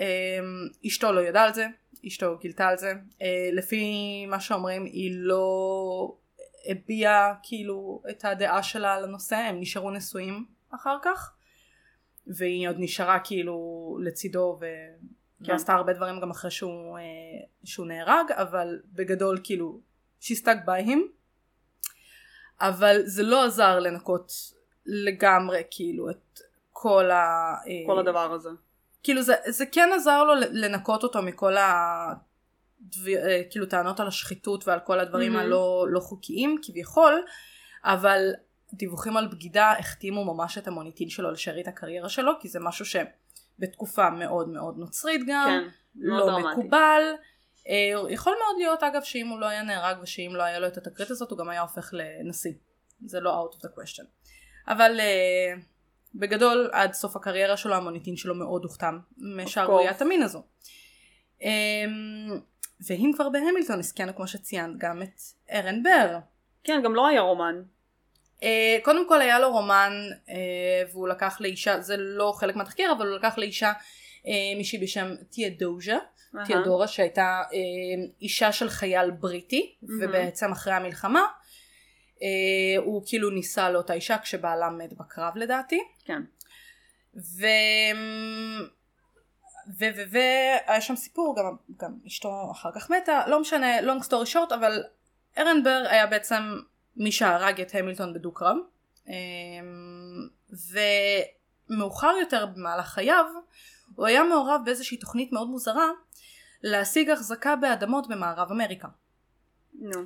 Speaker 1: אשתו לא ידעה על זה, אשתו גילתה על זה, אה, לפי מה שאומרים היא לא הביעה כאילו את הדעה שלה על הנושא, הם נשארו נשואים אחר כך, והיא עוד נשארה כאילו לצידו ו...
Speaker 2: כן.
Speaker 1: כן. ועשתה הרבה דברים גם אחרי שהוא, אה, שהוא נהרג, אבל בגדול כאילו she stuck by him. אבל זה לא עזר לנקות לגמרי כאילו את כל ה... אה,
Speaker 2: כל הדבר הזה.
Speaker 1: כאילו זה, זה כן עזר לו לנקות אותו מכל ה... דב- אה, כאילו טענות על השחיתות ועל כל הדברים
Speaker 2: מהמם.
Speaker 1: mm-hmm. הלא לא חוקיים כביכול, אבל דיווחים על בגידה החתימו ממש את המוניטין שלו לשארית הקריירה שלו, כי זה משהו בתקופה מאוד מאוד נוצרית גם.
Speaker 2: כן, מאוד
Speaker 1: לא
Speaker 2: דרמטי.
Speaker 1: מקובל. אה, יכול מאוד להיות אגב שאם הוא לא היה נהרג ושאם לא היה לו את התקרית הזאת הוא גם היה הופך לנשיא. זה לא out of the question. אבל אה, בגדול עד סוף הקריירה שלו המוניטין שלו מאוד הוכתם משערוריית המין הזו. אה, ואם כבר בהמילטון הזכינו כמו שציינת גם את ארן בר.
Speaker 2: כן, גם לא היה רומן.
Speaker 1: אה, קודם כל היה לו רומן אה, והוא לקח לאישה, זה לא חלק מהתחקיר אבל הוא לקח לאישה אה, מישהי בשם תיאדוז'ה תיאודורה שהייתה אה, אישה של חייל בריטי ובעצם אחרי המלחמה אה, הוא כאילו נישא לאותה אישה כשבעלה מת בקרב לדעתי
Speaker 2: כן.
Speaker 1: ו... ו... ו... ו... היה שם סיפור גם, גם אשתו אחר כך מתה לא משנה long story short אבל ארנבר היה בעצם מי שהרג את המילטון בדו קרב ומאוחר יותר במהלך חייו הוא היה מעורב באיזושהי תוכנית מאוד מוזרה להשיג החזקה באדמות במערב אמריקה.
Speaker 2: נו.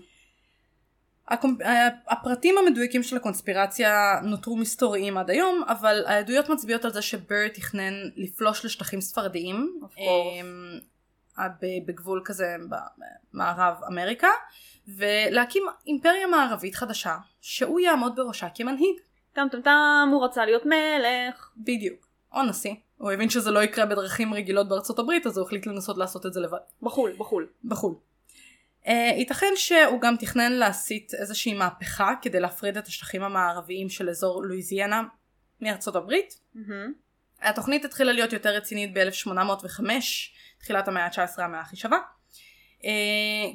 Speaker 1: הקומפ... ה- הפרטים המדויקים של הקונספירציה נותרו מסתוריים עד היום, אבל העדויות מצביעות על זה שבר תכנן לפלוש לשטחים ספרדיים,
Speaker 2: Of course.
Speaker 1: אמ, ה- ב- בגבול כזה במערב אמריקה, ולהקים אימפריה מערבית חדשה, שהוא יעמוד בראשה כמנהיג.
Speaker 2: טם טם טם, הוא רצה להיות מלך.
Speaker 1: בדיוק. או נשיא. הוא הבין שזה לא יקרה בדרכים רגילות בארצות הברית, אז הוא החליט לנסות לעשות את זה לבד.
Speaker 2: בחול, בחול.
Speaker 1: בחו"ל. Uh, ייתכן שהוא גם תכנן להסיט איזושהי מהפכה כדי להפריד את השטחים המערביים של אזור לואיזיאנה מארצות הברית. Mm-hmm. התוכנית התחילה להיות יותר רצינית ב-1805, תחילת המאה ה-19 המאה הכי שווה. Uh,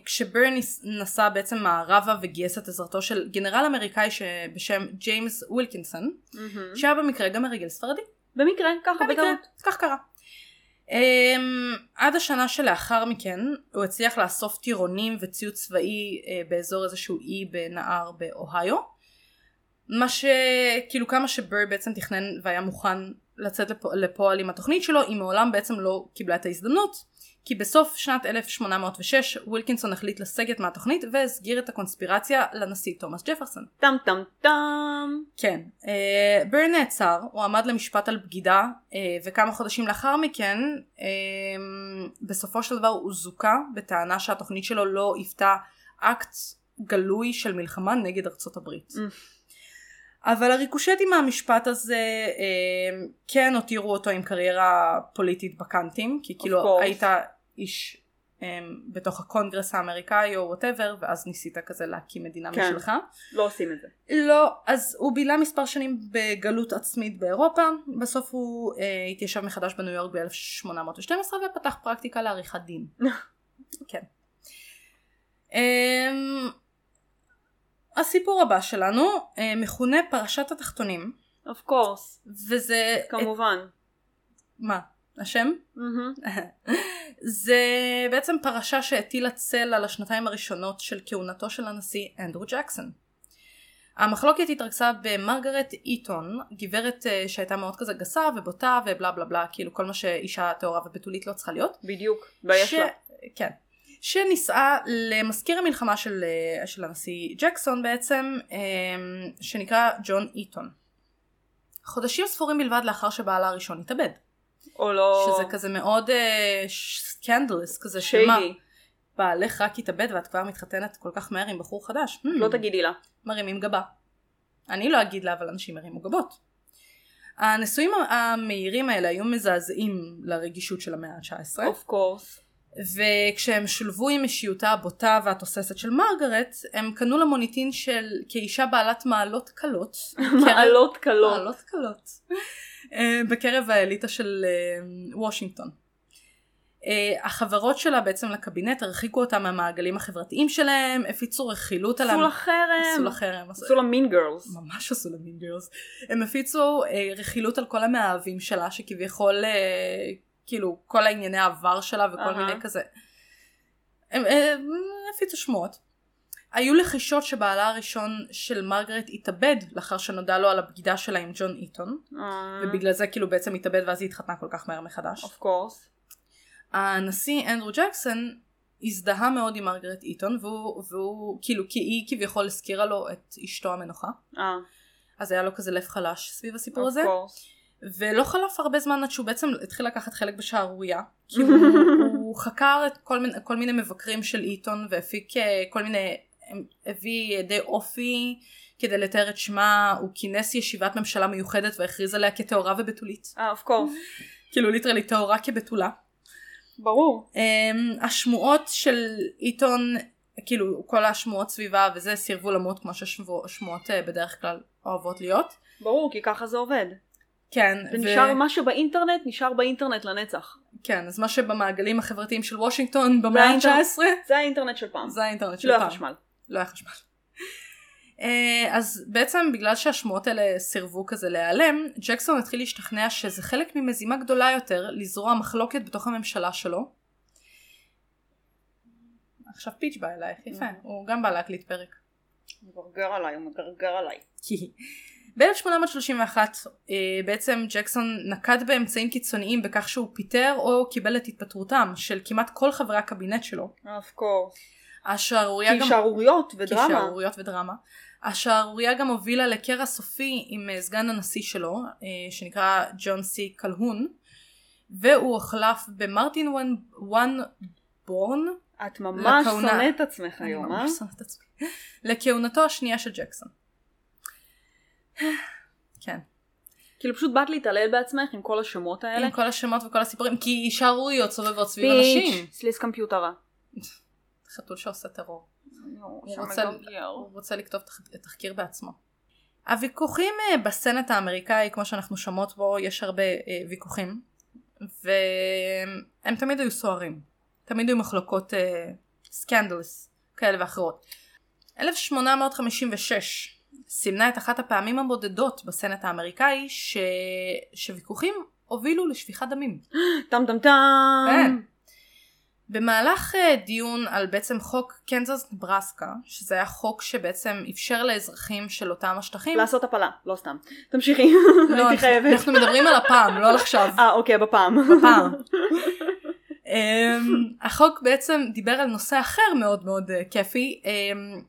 Speaker 1: כשברניס נסע בעצם מערבה וגייס את עזרתו של גנרל אמריקאי ש... בשם ג'יימס ווילקינסון,
Speaker 2: Mm-hmm.
Speaker 1: שהיה במקרה גם מרגל ספרדי.
Speaker 2: במקרה, ככה,
Speaker 1: Mm-hmm. במקרה,
Speaker 2: בטעות.
Speaker 1: כך קרה. Um, עד השנה שלאחר מכן הוא הצליח לאסוף טירונים וציוד צבאי uh, באזור איזשהו אי בנהר באוהיו מה שכאילו כמה שבר בעצם תכנן והיה מוכן לצאת לפ... לפועל עם התוכנית שלו היא מעולם בעצם לא קיבלה את ההזדמנות כי בסוף שנת 1806 ווילקינסון החליט לסגת מהתוכנית והסגיר את הקונספירציה לנשיא תומאס ג'פרסון
Speaker 2: טם טם טם.
Speaker 1: כן, אה, בר נעצר, הוא עמד למשפט על בגידה, אה, וכמה חודשים לאחר מכן, אה, בסופו של דבר הוא זוכה בטענה שהתוכנית שלו לא היוותה אקט גלוי של מלחמה נגד ארצות הברית.
Speaker 2: Mm.
Speaker 1: אבל הריקושטים מהמשפט הזה אה, כן הותירו אותו עם קריירה פוליטית בקאנטים, כי כאילו
Speaker 2: course.
Speaker 1: היית איש אה, בתוך הקונגרס האמריקאי או וואטאבר, ואז ניסית כזה להקים מדינה
Speaker 2: כן.
Speaker 1: משלך.
Speaker 2: לא עושים את זה.
Speaker 1: לא, אז הוא בילה מספר שנים בגלות עצמית באירופה, בסוף הוא אה, התיישב מחדש בניו יורק ב-1812 ופתח פרקטיקה לעריכת דין. כן. אמ, הסיפור הבא שלנו אה, מכונה פרשת התחתונים,
Speaker 2: אוף קורס.
Speaker 1: וזה... אה,
Speaker 2: כמובן.
Speaker 1: מה? השם?
Speaker 2: מהמם.
Speaker 1: Mm-hmm. זה בעצם פרשה שהטילה צל על השנתיים הראשונות של כהונתו של הנשיא אנדרו ג'קסון. המחלוקת התרכזה במרגרט איטון, גברת אה, שהייתה מאוד כזה גסה ובוטה ובלה בלה בלה, כאילו כל מה שאישה טהורה ובתולית לא צריכה להיות.
Speaker 2: בדיוק. ויש
Speaker 1: ש-
Speaker 2: לה.
Speaker 1: כן. שנישאה למזכיר המלחמה של, אה, של הנשיא ג'קסון בעצם, אה, שנקרא ג'ון איטון. חודשים ספורים בלבד לאחר שבעלה הראשון התאבד.
Speaker 2: או לא.
Speaker 1: שזה כזה מאוד סקנדלס, כזה שמה,
Speaker 2: שיידי.
Speaker 1: בעלך רק התאבד ואת כבר מתחתנת כל כך מהר עם בחור חדש. Hmm,
Speaker 2: לא תגידי לה.
Speaker 1: מרימים גבה. אני לא אגיד לה, אבל אנשים הרימו גבות. הנישואים המהירים האלה היו מזעזעים לרגישות של המאה ה-19,
Speaker 2: אוף קורס.
Speaker 1: וכשהם שולבו עם אישיותה הבוטה והתוססת של מרגרט, הם קנו לה מוניטין של כאישה בעלת מעלות קלות.
Speaker 2: [laughs] מעלות קלות.
Speaker 1: מעלות קלות. אה, בקרב האליטה של אה, וושינגטון. אה, החברות שלה בעצם לקבינט הרחיקו אותה מהמעגלים החברתיים שלהם, הפיצו רכילות עליהם.
Speaker 2: עשו לה חרם.
Speaker 1: עשו לה חרם. עשו-
Speaker 2: עשו לה מין גרלס.
Speaker 1: ממש עשו לה מין גרס. הם הפיצו אה, רכילות על כל המאהבים שלה, שכביכול, אה, כאילו, כל הענייני העבר שלה וכל
Speaker 2: אהה.
Speaker 1: מיני כזה. הם אה, הפיצו שמועות. היו לחישות שבעלה הראשון של מרגרט התאבד לאחר שנודע לו על הבגידה שלה עם ג'ון איטון,
Speaker 2: אה,
Speaker 1: ובגלל זה כאילו בעצם התאבד ואז היא התחתנה כל כך מהר מחדש.
Speaker 2: אוף קורס.
Speaker 1: הנשיא אנדרו ג'קסון הזדהה מאוד עם מרגרט איטון, והוא, והוא כאילו, כי היא כביכול הזכירה לו את אשתו המנוחה.
Speaker 2: אה.
Speaker 1: אז היה לו כזה לב חלש סביב הסיפור
Speaker 2: אוף
Speaker 1: הזה.
Speaker 2: קורס.
Speaker 1: ולא חלף הרבה זמן עד שהוא בעצם התחיל לקחת חלק בשערורייה. כי הוא, הוא חקר את כל מיני, כל מיני מבקרים של עיתון והפיק אה, כל מיני, הביא די אופי כדי לתאר את שמה, הוא כינס ישיבת ממשלה מיוחדת והכריז עליה כטהורה ובתולית.
Speaker 2: אה, אוף קורס.
Speaker 1: כאילו ליטרלי טהורה כבתולה. Mm-hmm.
Speaker 2: ברור.
Speaker 1: אמ, השמועות של עיתון, כאילו כל השמועות סביבה וזה סירבו למות כמו שהשמועות אה, בדרך כלל אוהבות להיות.
Speaker 2: ברור, כי ככה זה עובד.
Speaker 1: כן,
Speaker 2: ונשאר מה שבאינטרנט, נשאר באינטרנט לנצח.
Speaker 1: כן, אז מה שבמעגלים החברתיים של וושינגטון במאה
Speaker 2: האינטר-
Speaker 1: ה-19,
Speaker 2: זה האינטרנט של פעם.
Speaker 1: זה האינטרנט של
Speaker 2: לא
Speaker 1: פעם.
Speaker 2: החשמל.
Speaker 1: לא היה חשמל. אה, אז בעצם בגלל שהשמועות האלה סירבו כזה להיעלם, ג'קסון התחיל להשתכנע שזה חלק ממזימה גדולה יותר לזרוע מחלוקת בתוך הממשלה שלו. עכשיו פיץ' בא אלייך, יפה,
Speaker 2: Mhm.
Speaker 1: הוא גם בא להקליט פרק.
Speaker 2: הוא מגרגר עליי, הוא מגרגר עליי.
Speaker 1: כי ב-1831 אה, בעצם ג'קסון נקט באמצעים קיצוניים בכך שהוא פיטר או קיבל את התפטרותם של כמעט כל חברי הקבינט שלו.
Speaker 2: אוף קורס.
Speaker 1: השערורייה
Speaker 2: כי
Speaker 1: גם...
Speaker 2: שערוריות
Speaker 1: כי
Speaker 2: ודרמה.
Speaker 1: שערוריות ודרמה. השערורייה גם הובילה לקרע סופי עם אה, סגן הנשיא שלו, אה, שנקרא ג'ון סי קלהון, והוא הוחלף במרטין וואן, וואן בורן,
Speaker 2: את ממש
Speaker 1: לכהונה.
Speaker 2: שונאת את עצמך
Speaker 1: אני
Speaker 2: היום, אה?
Speaker 1: ממש שונאת את עצמי, לכהונתו השנייה של ג'קסון. כן,
Speaker 2: כאילו פשוט באת להתעלל בעצמך עם כל השמות האלה.
Speaker 1: עם כל השמות וכל הסיפורים, כי שערוריות סובבות סביב אנשים.
Speaker 2: סליס קמפיוטרה.
Speaker 1: חתול שעושה טרור.
Speaker 2: הוא
Speaker 1: שם הוא רוצה לכתוב תח- תחקיר בעצמו. הוויכוחים אה, בסנאט האמריקאי, כמו שאנחנו שומעות בו, יש הרבה אה, ויכוחים, והם תמיד היו סוערים. תמיד היו מחלוקות סקנדלס כאלה ואחרות. 1856 סימנה את אחת הפעמים הבודדות בסנאט האמריקאי ש... שוויכוחים הובילו לשפיכת דמים.
Speaker 2: טם טם טם.
Speaker 1: כן. במהלך אה, דיון על בעצם חוק קנזס נברסקה, שזה היה חוק שבעצם אפשר לאזרחים של אותם השטחים,
Speaker 2: לעשות הפלה, לא סתם. תמשיכי, [laughs]
Speaker 1: לא,
Speaker 2: הייתי
Speaker 1: אנחנו-
Speaker 2: חייבת.
Speaker 1: אנחנו מדברים על הפעם, לא על עכשיו,
Speaker 2: אה, אוקיי, בפעם.
Speaker 1: הפעם. אמ, החוק בעצם דיבר על נושא אחר מאוד מאוד אה, כיפי, אמ,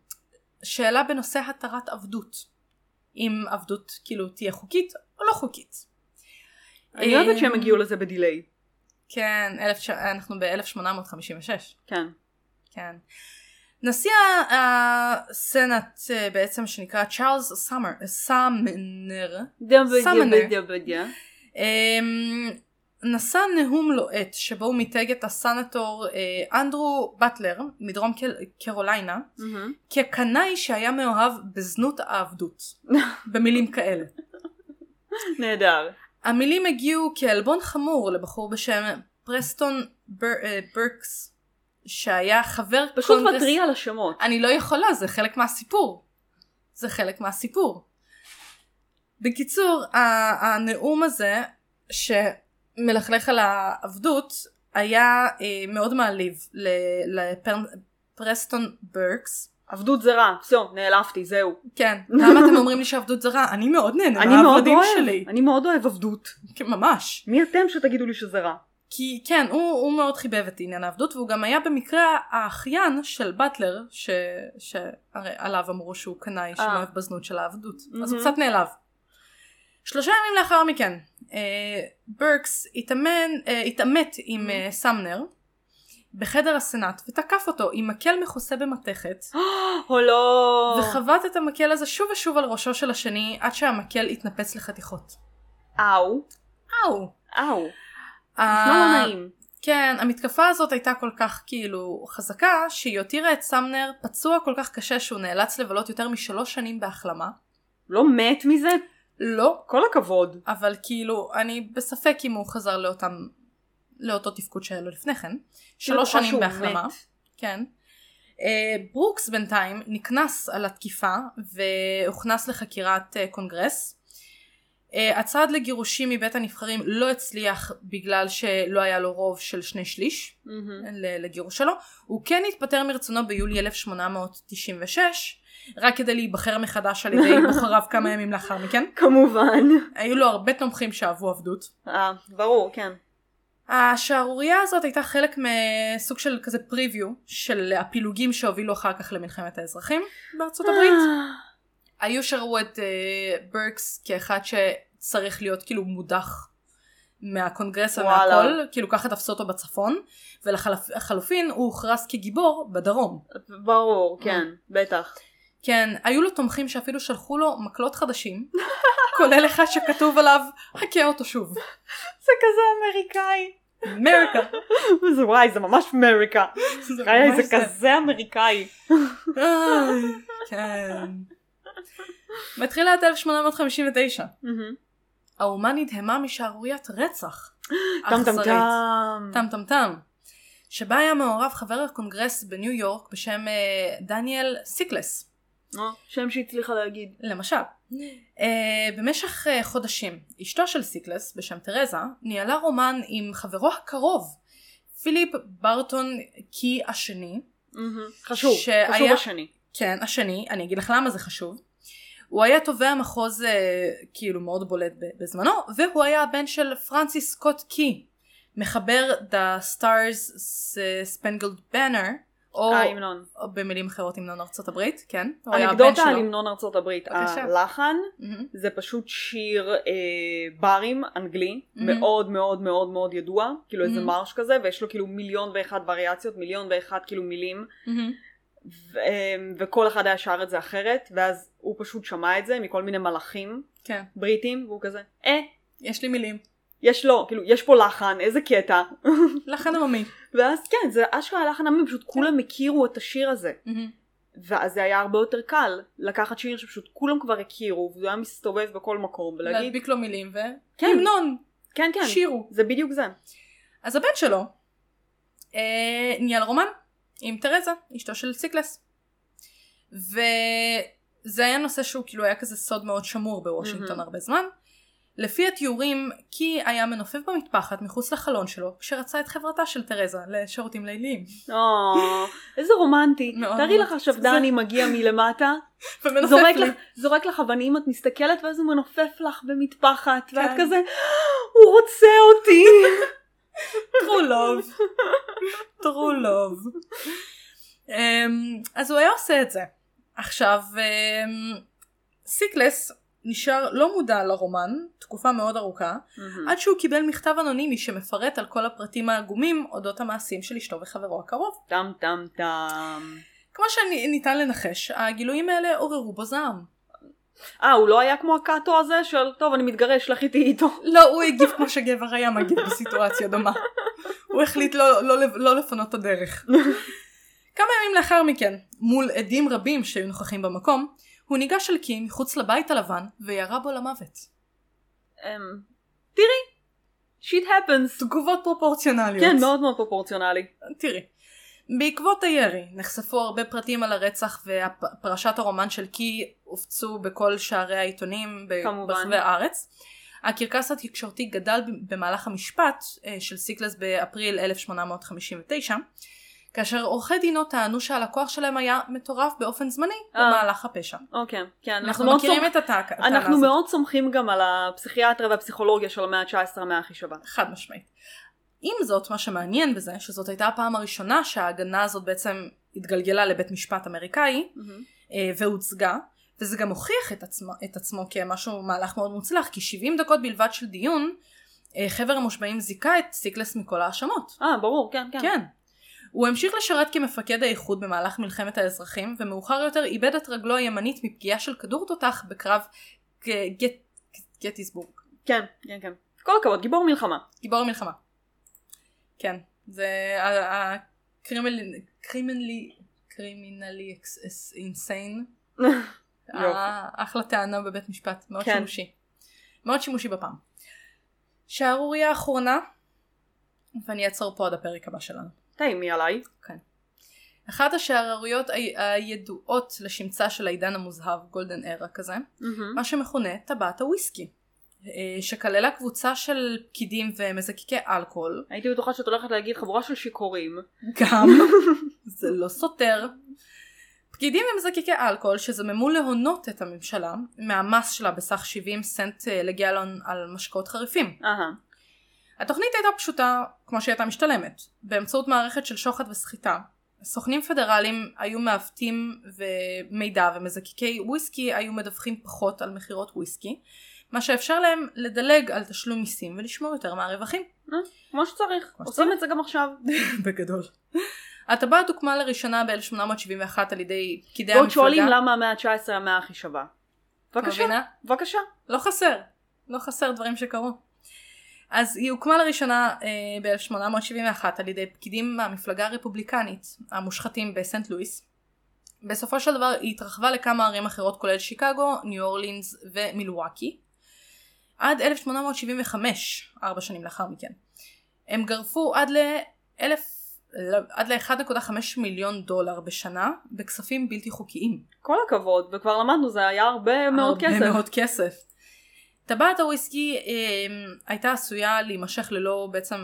Speaker 1: שאלה בנושא התרת עבדות. אם עבדות כאילו תהיה חוקית או לא חוקית.
Speaker 2: [laughs] אני אוהבת
Speaker 1: אמ,
Speaker 2: שהם הגיעו לזה בדיליי.
Speaker 1: כן, אלף ש- אנחנו ב-1856.
Speaker 2: כן.
Speaker 1: כן. נשיא ה- הסנאט אה, בעצם שנקרא צ'ארלס סאמר, סאמנר, סמנר. [laughs] אמ, נשא נאום לוהט שבו הוא מיתג את הסנטור אה, אנדרו באטלר מדרום קל- קרוליינה
Speaker 2: מהמם.
Speaker 1: כקנאי שהיה מאוהב בזנות העבדות, במילים כאלה.
Speaker 2: נהדר.
Speaker 1: המילים הגיעו כעלבון חמור לבחור בשם פרסטון בר, אה, ברקס שהיה חבר
Speaker 2: פשוט
Speaker 1: קונגרס...
Speaker 2: מתריע על השמות.
Speaker 1: אני לא יכולה, זה חלק מהסיפור. זה חלק מהסיפור. בקיצור, ה- הנאום הזה, שמלכלך על העבדות, היה אה, מאוד מעליב לפרסטון ברקס.
Speaker 2: עבדות זה רע, זהו, נעלבתי, זהו.
Speaker 1: כן, למה אתם אומרים לי שעבדות זה רע? אני מאוד נהנה
Speaker 2: אני מאוד
Speaker 1: מהעבדים שלי.
Speaker 2: אוהב, אני מאוד אוהב עבדות.
Speaker 1: כן, ממש.
Speaker 2: מי אתם שתגידו לי שזה רע? [gasps]
Speaker 1: כי כן, הוא, הוא מאוד חיבב את עניין העבדות, והוא גם היה במקרה האחיין של באטלר, ש... שהרי עליו אמרו שהוא קנאי שמאוהב בזנות של העבדות, אז הוא
Speaker 2: אה. מהמם.
Speaker 1: קצת נעלב. שלושה ימים לאחר מכן, אה, ברקס התאמן, אה, התעמת עם אה, סמנר בחדר הסנאט, ותקף אותו עם מקל מכוסה במתכת,
Speaker 2: או לא.
Speaker 1: וחבט את המקל הזה שוב ושוב על ראשו של השני, עד שהמקל התנפץ לחתיכות.
Speaker 2: אאו.
Speaker 1: אאו.
Speaker 2: אאו.
Speaker 1: אה,
Speaker 2: נשמע לא נעים.
Speaker 1: כן, המתקפה הזאת הייתה כל כך כאילו חזקה, שהיא הותירה את סמנר פצוע כל כך קשה שהוא נאלץ לבלות יותר משלוש שנים בהחלמה.
Speaker 2: לא מת מזה?
Speaker 1: לא,
Speaker 2: כל הכבוד.
Speaker 1: אבל כאילו, אני בספק אם הוא חזר לאותם, לאותו תפקוד שהיה לו לפני כן. שלוש
Speaker 2: בטוחה
Speaker 1: שנים
Speaker 2: שהוא
Speaker 1: בהחלמה.
Speaker 2: מת.
Speaker 1: כן. אה, ברוקס בינתיים נקנס על התקיפה והוכנס לחקירת אה, קונגרס. אה, הצעד לגירושים מבית הנבחרים לא הצליח בגלל שלא היה לו רוב של שני שליש.
Speaker 2: מהמם.
Speaker 1: ל- לגירוש שלו, הוא כן התפטר מרצונו ביולי 1896, רק כדי להיבחר מחדש על ידי בוחריו כמה ימים לאחר מכן.
Speaker 2: כמובן. [laughs]
Speaker 1: היו לו הרבה תומכים שאהבו עבדות.
Speaker 2: אה, ברור, כן.
Speaker 1: השערורייה הזאת הייתה חלק מסוג של כזה preview של הפילוגים שהובילו אחר כך למלחמת [gasps] האזרחים בארצות הברית. היו שראו את אה, ברקס אה, כאחד צריך להיות כאילו מודח מהקונגרס
Speaker 2: וואלה.
Speaker 1: ומהכל, כאילו ככה תפסו אותו בצפון, ולחלופין הוא הוכרס כגיבור בדרום.
Speaker 2: ברור, כן, בטח.
Speaker 1: כן, היו לו תומכים שאפילו שלחו לו מקלות חדשים, כולל אחד שכתוב עליו, חכה אותו שוב.
Speaker 2: זה כזה אמריקאי.
Speaker 1: אמריקה.
Speaker 2: [laughs] זה וואי, זה ממש
Speaker 1: [laughs]
Speaker 2: אמריקה. חיי, זה כזה אמריקאי.
Speaker 1: איי, כן. מתחילת 1859, האומה נדהמה משערוריית רצח.
Speaker 2: טם טם
Speaker 1: אכזרית.
Speaker 2: טם.
Speaker 1: טם טם טם. שבה היה מעורב חבר הקונגרס בניו יורק בשם אה, דניאל סיקלס.
Speaker 2: נו, אה, שם שהצליחה להגיד.
Speaker 1: למשל, uh, במשך uh, חודשים, אשתו של סיקלס, בשם תרזה, ניהלה רומן עם חברו הקרוב, פיליפ ברטון קי השני.
Speaker 2: חשוב,
Speaker 1: שהיה-
Speaker 2: חשוב השני.
Speaker 1: כן, השני, אני אגיד לך למה זה חשוב. הוא היה תובע מחוז uh, כאילו מאוד בולט ב- בזמנו, והוא היה הבן של פרנסיס סקוט קי, מחבר The Stars Spangled Banner, או
Speaker 2: אה, המנון.
Speaker 1: או במילים אחרות המנון ארצות הברית, כן? הוא היה הבן
Speaker 2: אנקדוטה
Speaker 1: שלו.
Speaker 2: על המנון ארצות הברית.
Speaker 1: בבקשה.
Speaker 2: הלחן
Speaker 1: מהמם.
Speaker 2: זה פשוט שיר אה, ברים אנגלי
Speaker 1: מהמם.
Speaker 2: מאוד מאוד מאוד מאוד ידוע כאילו איזה
Speaker 1: מהמם.
Speaker 2: מרש כזה ויש לו כאילו מיליון ואחת וריאציות מיליון ואחת כאילו מילים
Speaker 1: מהמם.
Speaker 2: ו- אה, וכל אחד היה שר את זה אחרת ואז הוא פשוט שמע את זה מכל מיני מלאכים
Speaker 1: כן,
Speaker 2: בריטים והוא כזה אה
Speaker 1: יש לי מילים.
Speaker 2: יש לו כאילו יש פה לחן איזה קטע [laughs]
Speaker 1: לחן עממי.
Speaker 2: ואז כן זה אשכרה לחן עממי פשוט
Speaker 1: כן.
Speaker 2: כולם הכירו את השיר הזה
Speaker 1: מהמם.
Speaker 2: ואז זה היה הרבה יותר קל לקחת שיר שפשוט כולם כבר הכירו והוא היה מסתובב בכל מקום ולהגיד
Speaker 1: להדביק לו מילים ו...
Speaker 2: כן.
Speaker 1: המנון,
Speaker 2: כן כן
Speaker 1: שירו.
Speaker 2: זה בדיוק זה [laughs]
Speaker 1: אז הבן שלו אה, ניהל רומן עם תרזה, אשתו של סיקלס. וזה היה נושא שהוא כאילו היה כזה סוד מאוד שמור בוושינגטון
Speaker 2: מהמם.
Speaker 1: הרבה זמן. לפי התיאורים, קי היה מנופף במטפחת מחוץ לחלון שלו, כשרצה את חברתה של תרזה לשירותים ליליים.
Speaker 2: או, אה, איזה
Speaker 1: [laughs]
Speaker 2: רומנטי.
Speaker 1: מאוד
Speaker 2: תארי לך
Speaker 1: מאוד.
Speaker 2: עכשיו
Speaker 1: זה-
Speaker 2: דני מגיע מלמטה,
Speaker 1: ומנופף
Speaker 2: זורק
Speaker 1: לי.
Speaker 2: לך- זורק לך אבנים, את מסתכלת ואז הוא מנופף לך במטפחת, ואת
Speaker 1: כן.
Speaker 2: כזה, "אה, הוא רוצה
Speaker 1: [laughs]
Speaker 2: אותי. [laughs]
Speaker 1: טרו לוב. טרו לוב. אמ, אז הוא היה עושה את זה. עכשיו, אמ, סיקלס נשאר לא מודע לרומן תקופה מאוד ארוכה, עד שהוא קיבל מכתב אנונימי שמפרט על כל הפרטים העגומים אודות המעשים של אשתו וחברו הקרוב.
Speaker 2: טם טם טם.
Speaker 1: כמו שניתן לנחש, הגילויים האלה עוררו בו זעם.
Speaker 2: אה, הוא לא היה כמו הקאטו הזה של, טוב, אני מתגרש, לך איתי איתו.
Speaker 1: לא, הוא הגיב כמו שגבר היה מגיב בסיטואציה דומה. הוא החליט לא, לא, לא, לא לפנות את הדרך. כמה ימים לאחר מכן, מול עדים רבים שהיו נוכחים במקום, הוא ניגש אל קים מחוץ לבית הלבן וירה בו למוות.
Speaker 2: אמ, תראי, שיט הפנס.
Speaker 1: תגובות פרופורציונליות.
Speaker 2: כן, מאוד מאוד פרופורציונלי.
Speaker 1: תראי. בעקבות הירי נחשפו הרבה פרטים על הרצח ופרשת הרומן של קי הופצו בכל שערי העיתונים ב-
Speaker 2: כמובן.
Speaker 1: ברחבי הארץ. הקרקס התקשורתי גדל ב- במהלך המשפט אה, של סיקלס באפריל 1859 כאשר עורכי דינו טענו שהלקוח שלהם היה מטורף באופן זמני
Speaker 2: אה.
Speaker 1: במהלך הפשע.
Speaker 2: אוקיי, כן,
Speaker 1: אנחנו
Speaker 2: מאוד
Speaker 1: מכירים
Speaker 2: סומכ-
Speaker 1: את הטענה הזאת.
Speaker 2: אנחנו מאוד סומכים גם על הפסיכיאטריה והפסיכולוגיה של המאה ה-19 מהכי שווה.
Speaker 1: חד משמעית. עם זאת, מה שמעניין בזה, שזאת הייתה הפעם הראשונה שההגנה הזאת בעצם התגלגלה לבית משפט אמריקאי, אה, והוצגה, וזה גם הוכיח את עצמו, את עצמו כמשהו, מהלך מאוד מוצלח, כי 70 דקות בלבד של דיון, אה, חבר המושבעים זיכה את סיקלס מכל ההאשמות.
Speaker 2: אה, ברור, כן, כן.
Speaker 1: כן. הוא המשיך לשרת כמפקד האיחוד במהלך מלחמת האזרחים, ומאוחר יותר איבד את רגלו הימנית מפגיעה של כדור תותח בקרב ג- גט- גטיסבורג.
Speaker 2: כן, כן, כן. כל הכבוד, גיבור
Speaker 1: [laughs]
Speaker 2: מלחמה.
Speaker 1: גיבור המלחמה. כן, זה הקרימינלי קרימינלי קרימינלי אקס- אס- אינסיין.
Speaker 2: יופי.
Speaker 1: אה, אחלה טענה בבית משפט, מאוד
Speaker 2: כן.
Speaker 1: שימושי. מאוד שימושי בפעם. שערורייה אחרונה, ואני אעצור פה עד הפרק הבא שלנו.
Speaker 2: תאימי עליי.
Speaker 1: אחת השערוריות ה- הידועות לשמצה של העידן המוזהב, גולדן ארה כזה, מה שמכונה טבעת הוויסקי, אה, שכללה קבוצה של פקידים ומזקקי אלכוהול,
Speaker 2: הייתי בטוחה שאת הולכת להגיד חבורה של שיכורים.
Speaker 1: גם, זה לא סותר. פקידים ומזקקי אלכוהול שזממו להונות את הממשלה מהמס שלה בסך 70 סנט אה, לגיאלון על משקאות חריפים.
Speaker 2: אהה.
Speaker 1: התוכנית הייתה פשוטה כמו שהיא הייתה משתלמת. באמצעות מערכת של שוחד וסחיטה, סוכנים פדרליים היו מעוותים ומידע ומזקקי וויסקי היו מדווחים פחות על מכירות וויסקי, מה שאפשר להם לדלג על תשלום מיסים ולשמור יותר מהרווחים.
Speaker 2: כמו שצריך.
Speaker 1: כמו כן,
Speaker 2: עושים את זה גם עכשיו.
Speaker 1: בגדול. הטבעת הוקמה לראשונה ב-1871 על ידי פקידי המפלגה.
Speaker 2: ועוד שואלים למה המאה ה-19 המאה הכי שווה.
Speaker 1: את
Speaker 2: בבקשה,
Speaker 1: מבינה?
Speaker 2: בבקשה.
Speaker 1: לא חסר, לא חסר דברים שקרו. אז היא הוקמה לראשונה אה, ב-1871 על ידי פקידים מהמפלגה הרפובליקנית המושחתים בסנט לואיס. בסופו של דבר היא התרחבה לכמה ערים אחרות כולל שיקגו, ניו אורלינס ומילואקי. עד 1875, ארבע שנים לאחר מכן. הם גרפו עד ל-1.5 עד ל-1.5 מיליון דולר בשנה בכספים בלתי חוקיים.
Speaker 2: כל הכבוד, וכבר למדנו, זה היה הרבה מאוד
Speaker 1: הרבה
Speaker 2: כסף.
Speaker 1: מאוד כסף. טבעת הוויסקי אה, הייתה עשויה להימשך ללא בעצם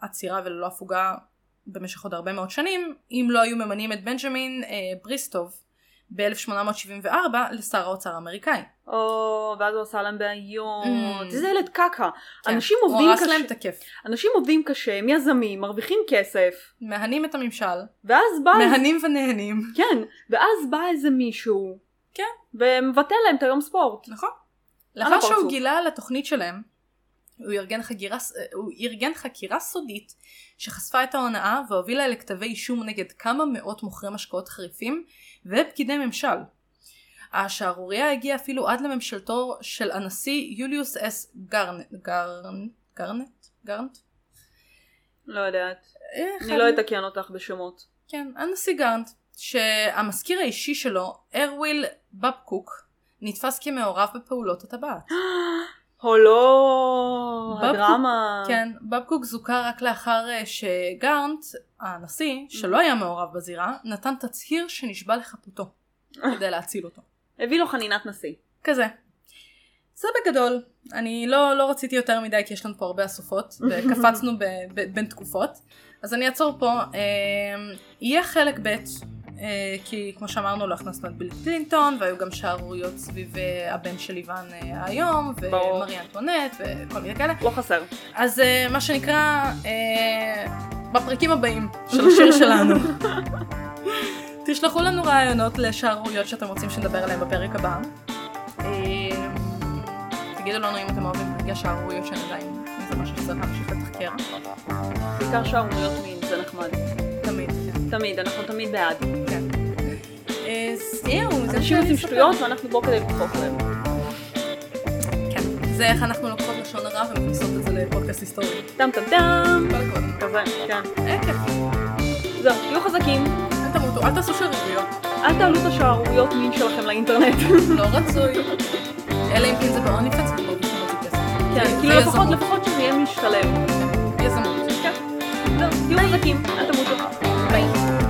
Speaker 1: עצירה וללא הפוגה במשך עוד הרבה מאוד שנים, אם לא היו ממנים את בנג'מין אה, בריסטוב ב-1874 לשר האוצר האמריקאי.
Speaker 2: או, ואז הוא עשה להם בעיות.
Speaker 1: Mm.
Speaker 2: איזה ילד קקה.
Speaker 1: כן,
Speaker 2: אנשים עובדים
Speaker 1: הוא הרס להם את
Speaker 2: קשה,
Speaker 1: הכיף.
Speaker 2: אנשים עובדים קשה, הם יזמים, מרוויחים כסף,
Speaker 1: מהנים את הממשל,
Speaker 2: ואז בא איזה-
Speaker 1: מהנים ונהנים.
Speaker 2: כן, ואז בא איזה מישהו.
Speaker 1: כן.
Speaker 2: ומבטל להם את היום ספורט.
Speaker 1: נכון.
Speaker 2: על
Speaker 1: לאחר
Speaker 2: הפרצוף.
Speaker 1: שהוא גילה על התוכנית שלהם, הוא ארגן, חגירה, ס- אה, הוא ארגן חקירה סודית שחשפה את ההונאה והובילה לכתבי אישום נגד כמה מאות מוכרי משקאות חריפים ופקידי ממשל. השערורייה הגיעה אפילו עד לממשלתו של הנשיא יוליוס אס גרנט, גרנט, גרנט, גרנט?
Speaker 2: לא יודעת.
Speaker 1: אה, אחד
Speaker 2: אני לא אתקן אותך בשמות.
Speaker 1: כן, הנשיא גרנט, שהמזכיר האישי שלו, ארוויל בבקוק, נתפס כמעורב בפעולות הטבעת.
Speaker 2: או לא,
Speaker 1: בבקוק.
Speaker 2: הדרמה.
Speaker 1: כן, בבקוק זוכה רק לאחר אה, שגרנט, הנשיא, שלא היה מעורב בזירה, נתן תצהיר שנשבע לחפותו, כדי להציל אותו.
Speaker 2: הביא לו חנינת נשיא.
Speaker 1: כזה. זה בגדול. אני לא, לא רציתי יותר מדי כי יש לנו פה הרבה אסופות, וקפצנו ב, ב, בין תקופות. אז אני אעצור פה. אה, יהיה חלק ב', אה, כי כמו שאמרנו לא הכנסנו את ביל קלינטון, והיו גם שערוריות סביב אה, הבן של איוון אה, היום,
Speaker 2: ברור.
Speaker 1: ומרי אנטונט, וכל מיני כאלה.
Speaker 2: לא חסר.
Speaker 1: אז אה, מה שנקרא, אה, בפרקים הבאים של השיר שלנו.
Speaker 2: [laughs]
Speaker 1: תשלחו לנו רעיונות לשערוריות שאתם רוצים שנדבר עליהן בפרק הבא. אה, תגידו לנו אם אתם אוהבים להגיע שערוריות שאני יודע אם זה משהו שצריך להמשיך לתחקר.
Speaker 2: בעיקר שערוריות מין, זה נחמד.
Speaker 1: תמיד,
Speaker 2: תמיד, אנחנו תמיד בעד.
Speaker 1: כן, כן. אה, זהו, זה מה
Speaker 2: אנשים
Speaker 1: שאני
Speaker 2: עושים
Speaker 1: אספר.
Speaker 2: שטויות ואנחנו פה כדי לדפוק להם.
Speaker 1: כן, זה איך אנחנו לוקחות לשון הרע ומכניסות את זה לפודקאסט היסטורי.
Speaker 2: טם טם טם.
Speaker 1: כל הכבוד.
Speaker 2: כזה, כן.
Speaker 1: אה, כן.
Speaker 2: זהו, תהיו חזקים,
Speaker 1: אל תמותו, אל תעשו שערוריות.
Speaker 2: אל תעלו את השערוריות מין שלכם
Speaker 1: [laughs]
Speaker 2: לאינטרנט.
Speaker 1: לא רצוי. אלא אם כן זה בעוני פץ ובואו בשביל להוציא כסף.
Speaker 2: כן, כאילו לפחות, לפחות שזה יהיה משתלם.
Speaker 1: יזמות.
Speaker 2: כן. זהו, תהיו חזקים, אל תמותו.
Speaker 1: ביי.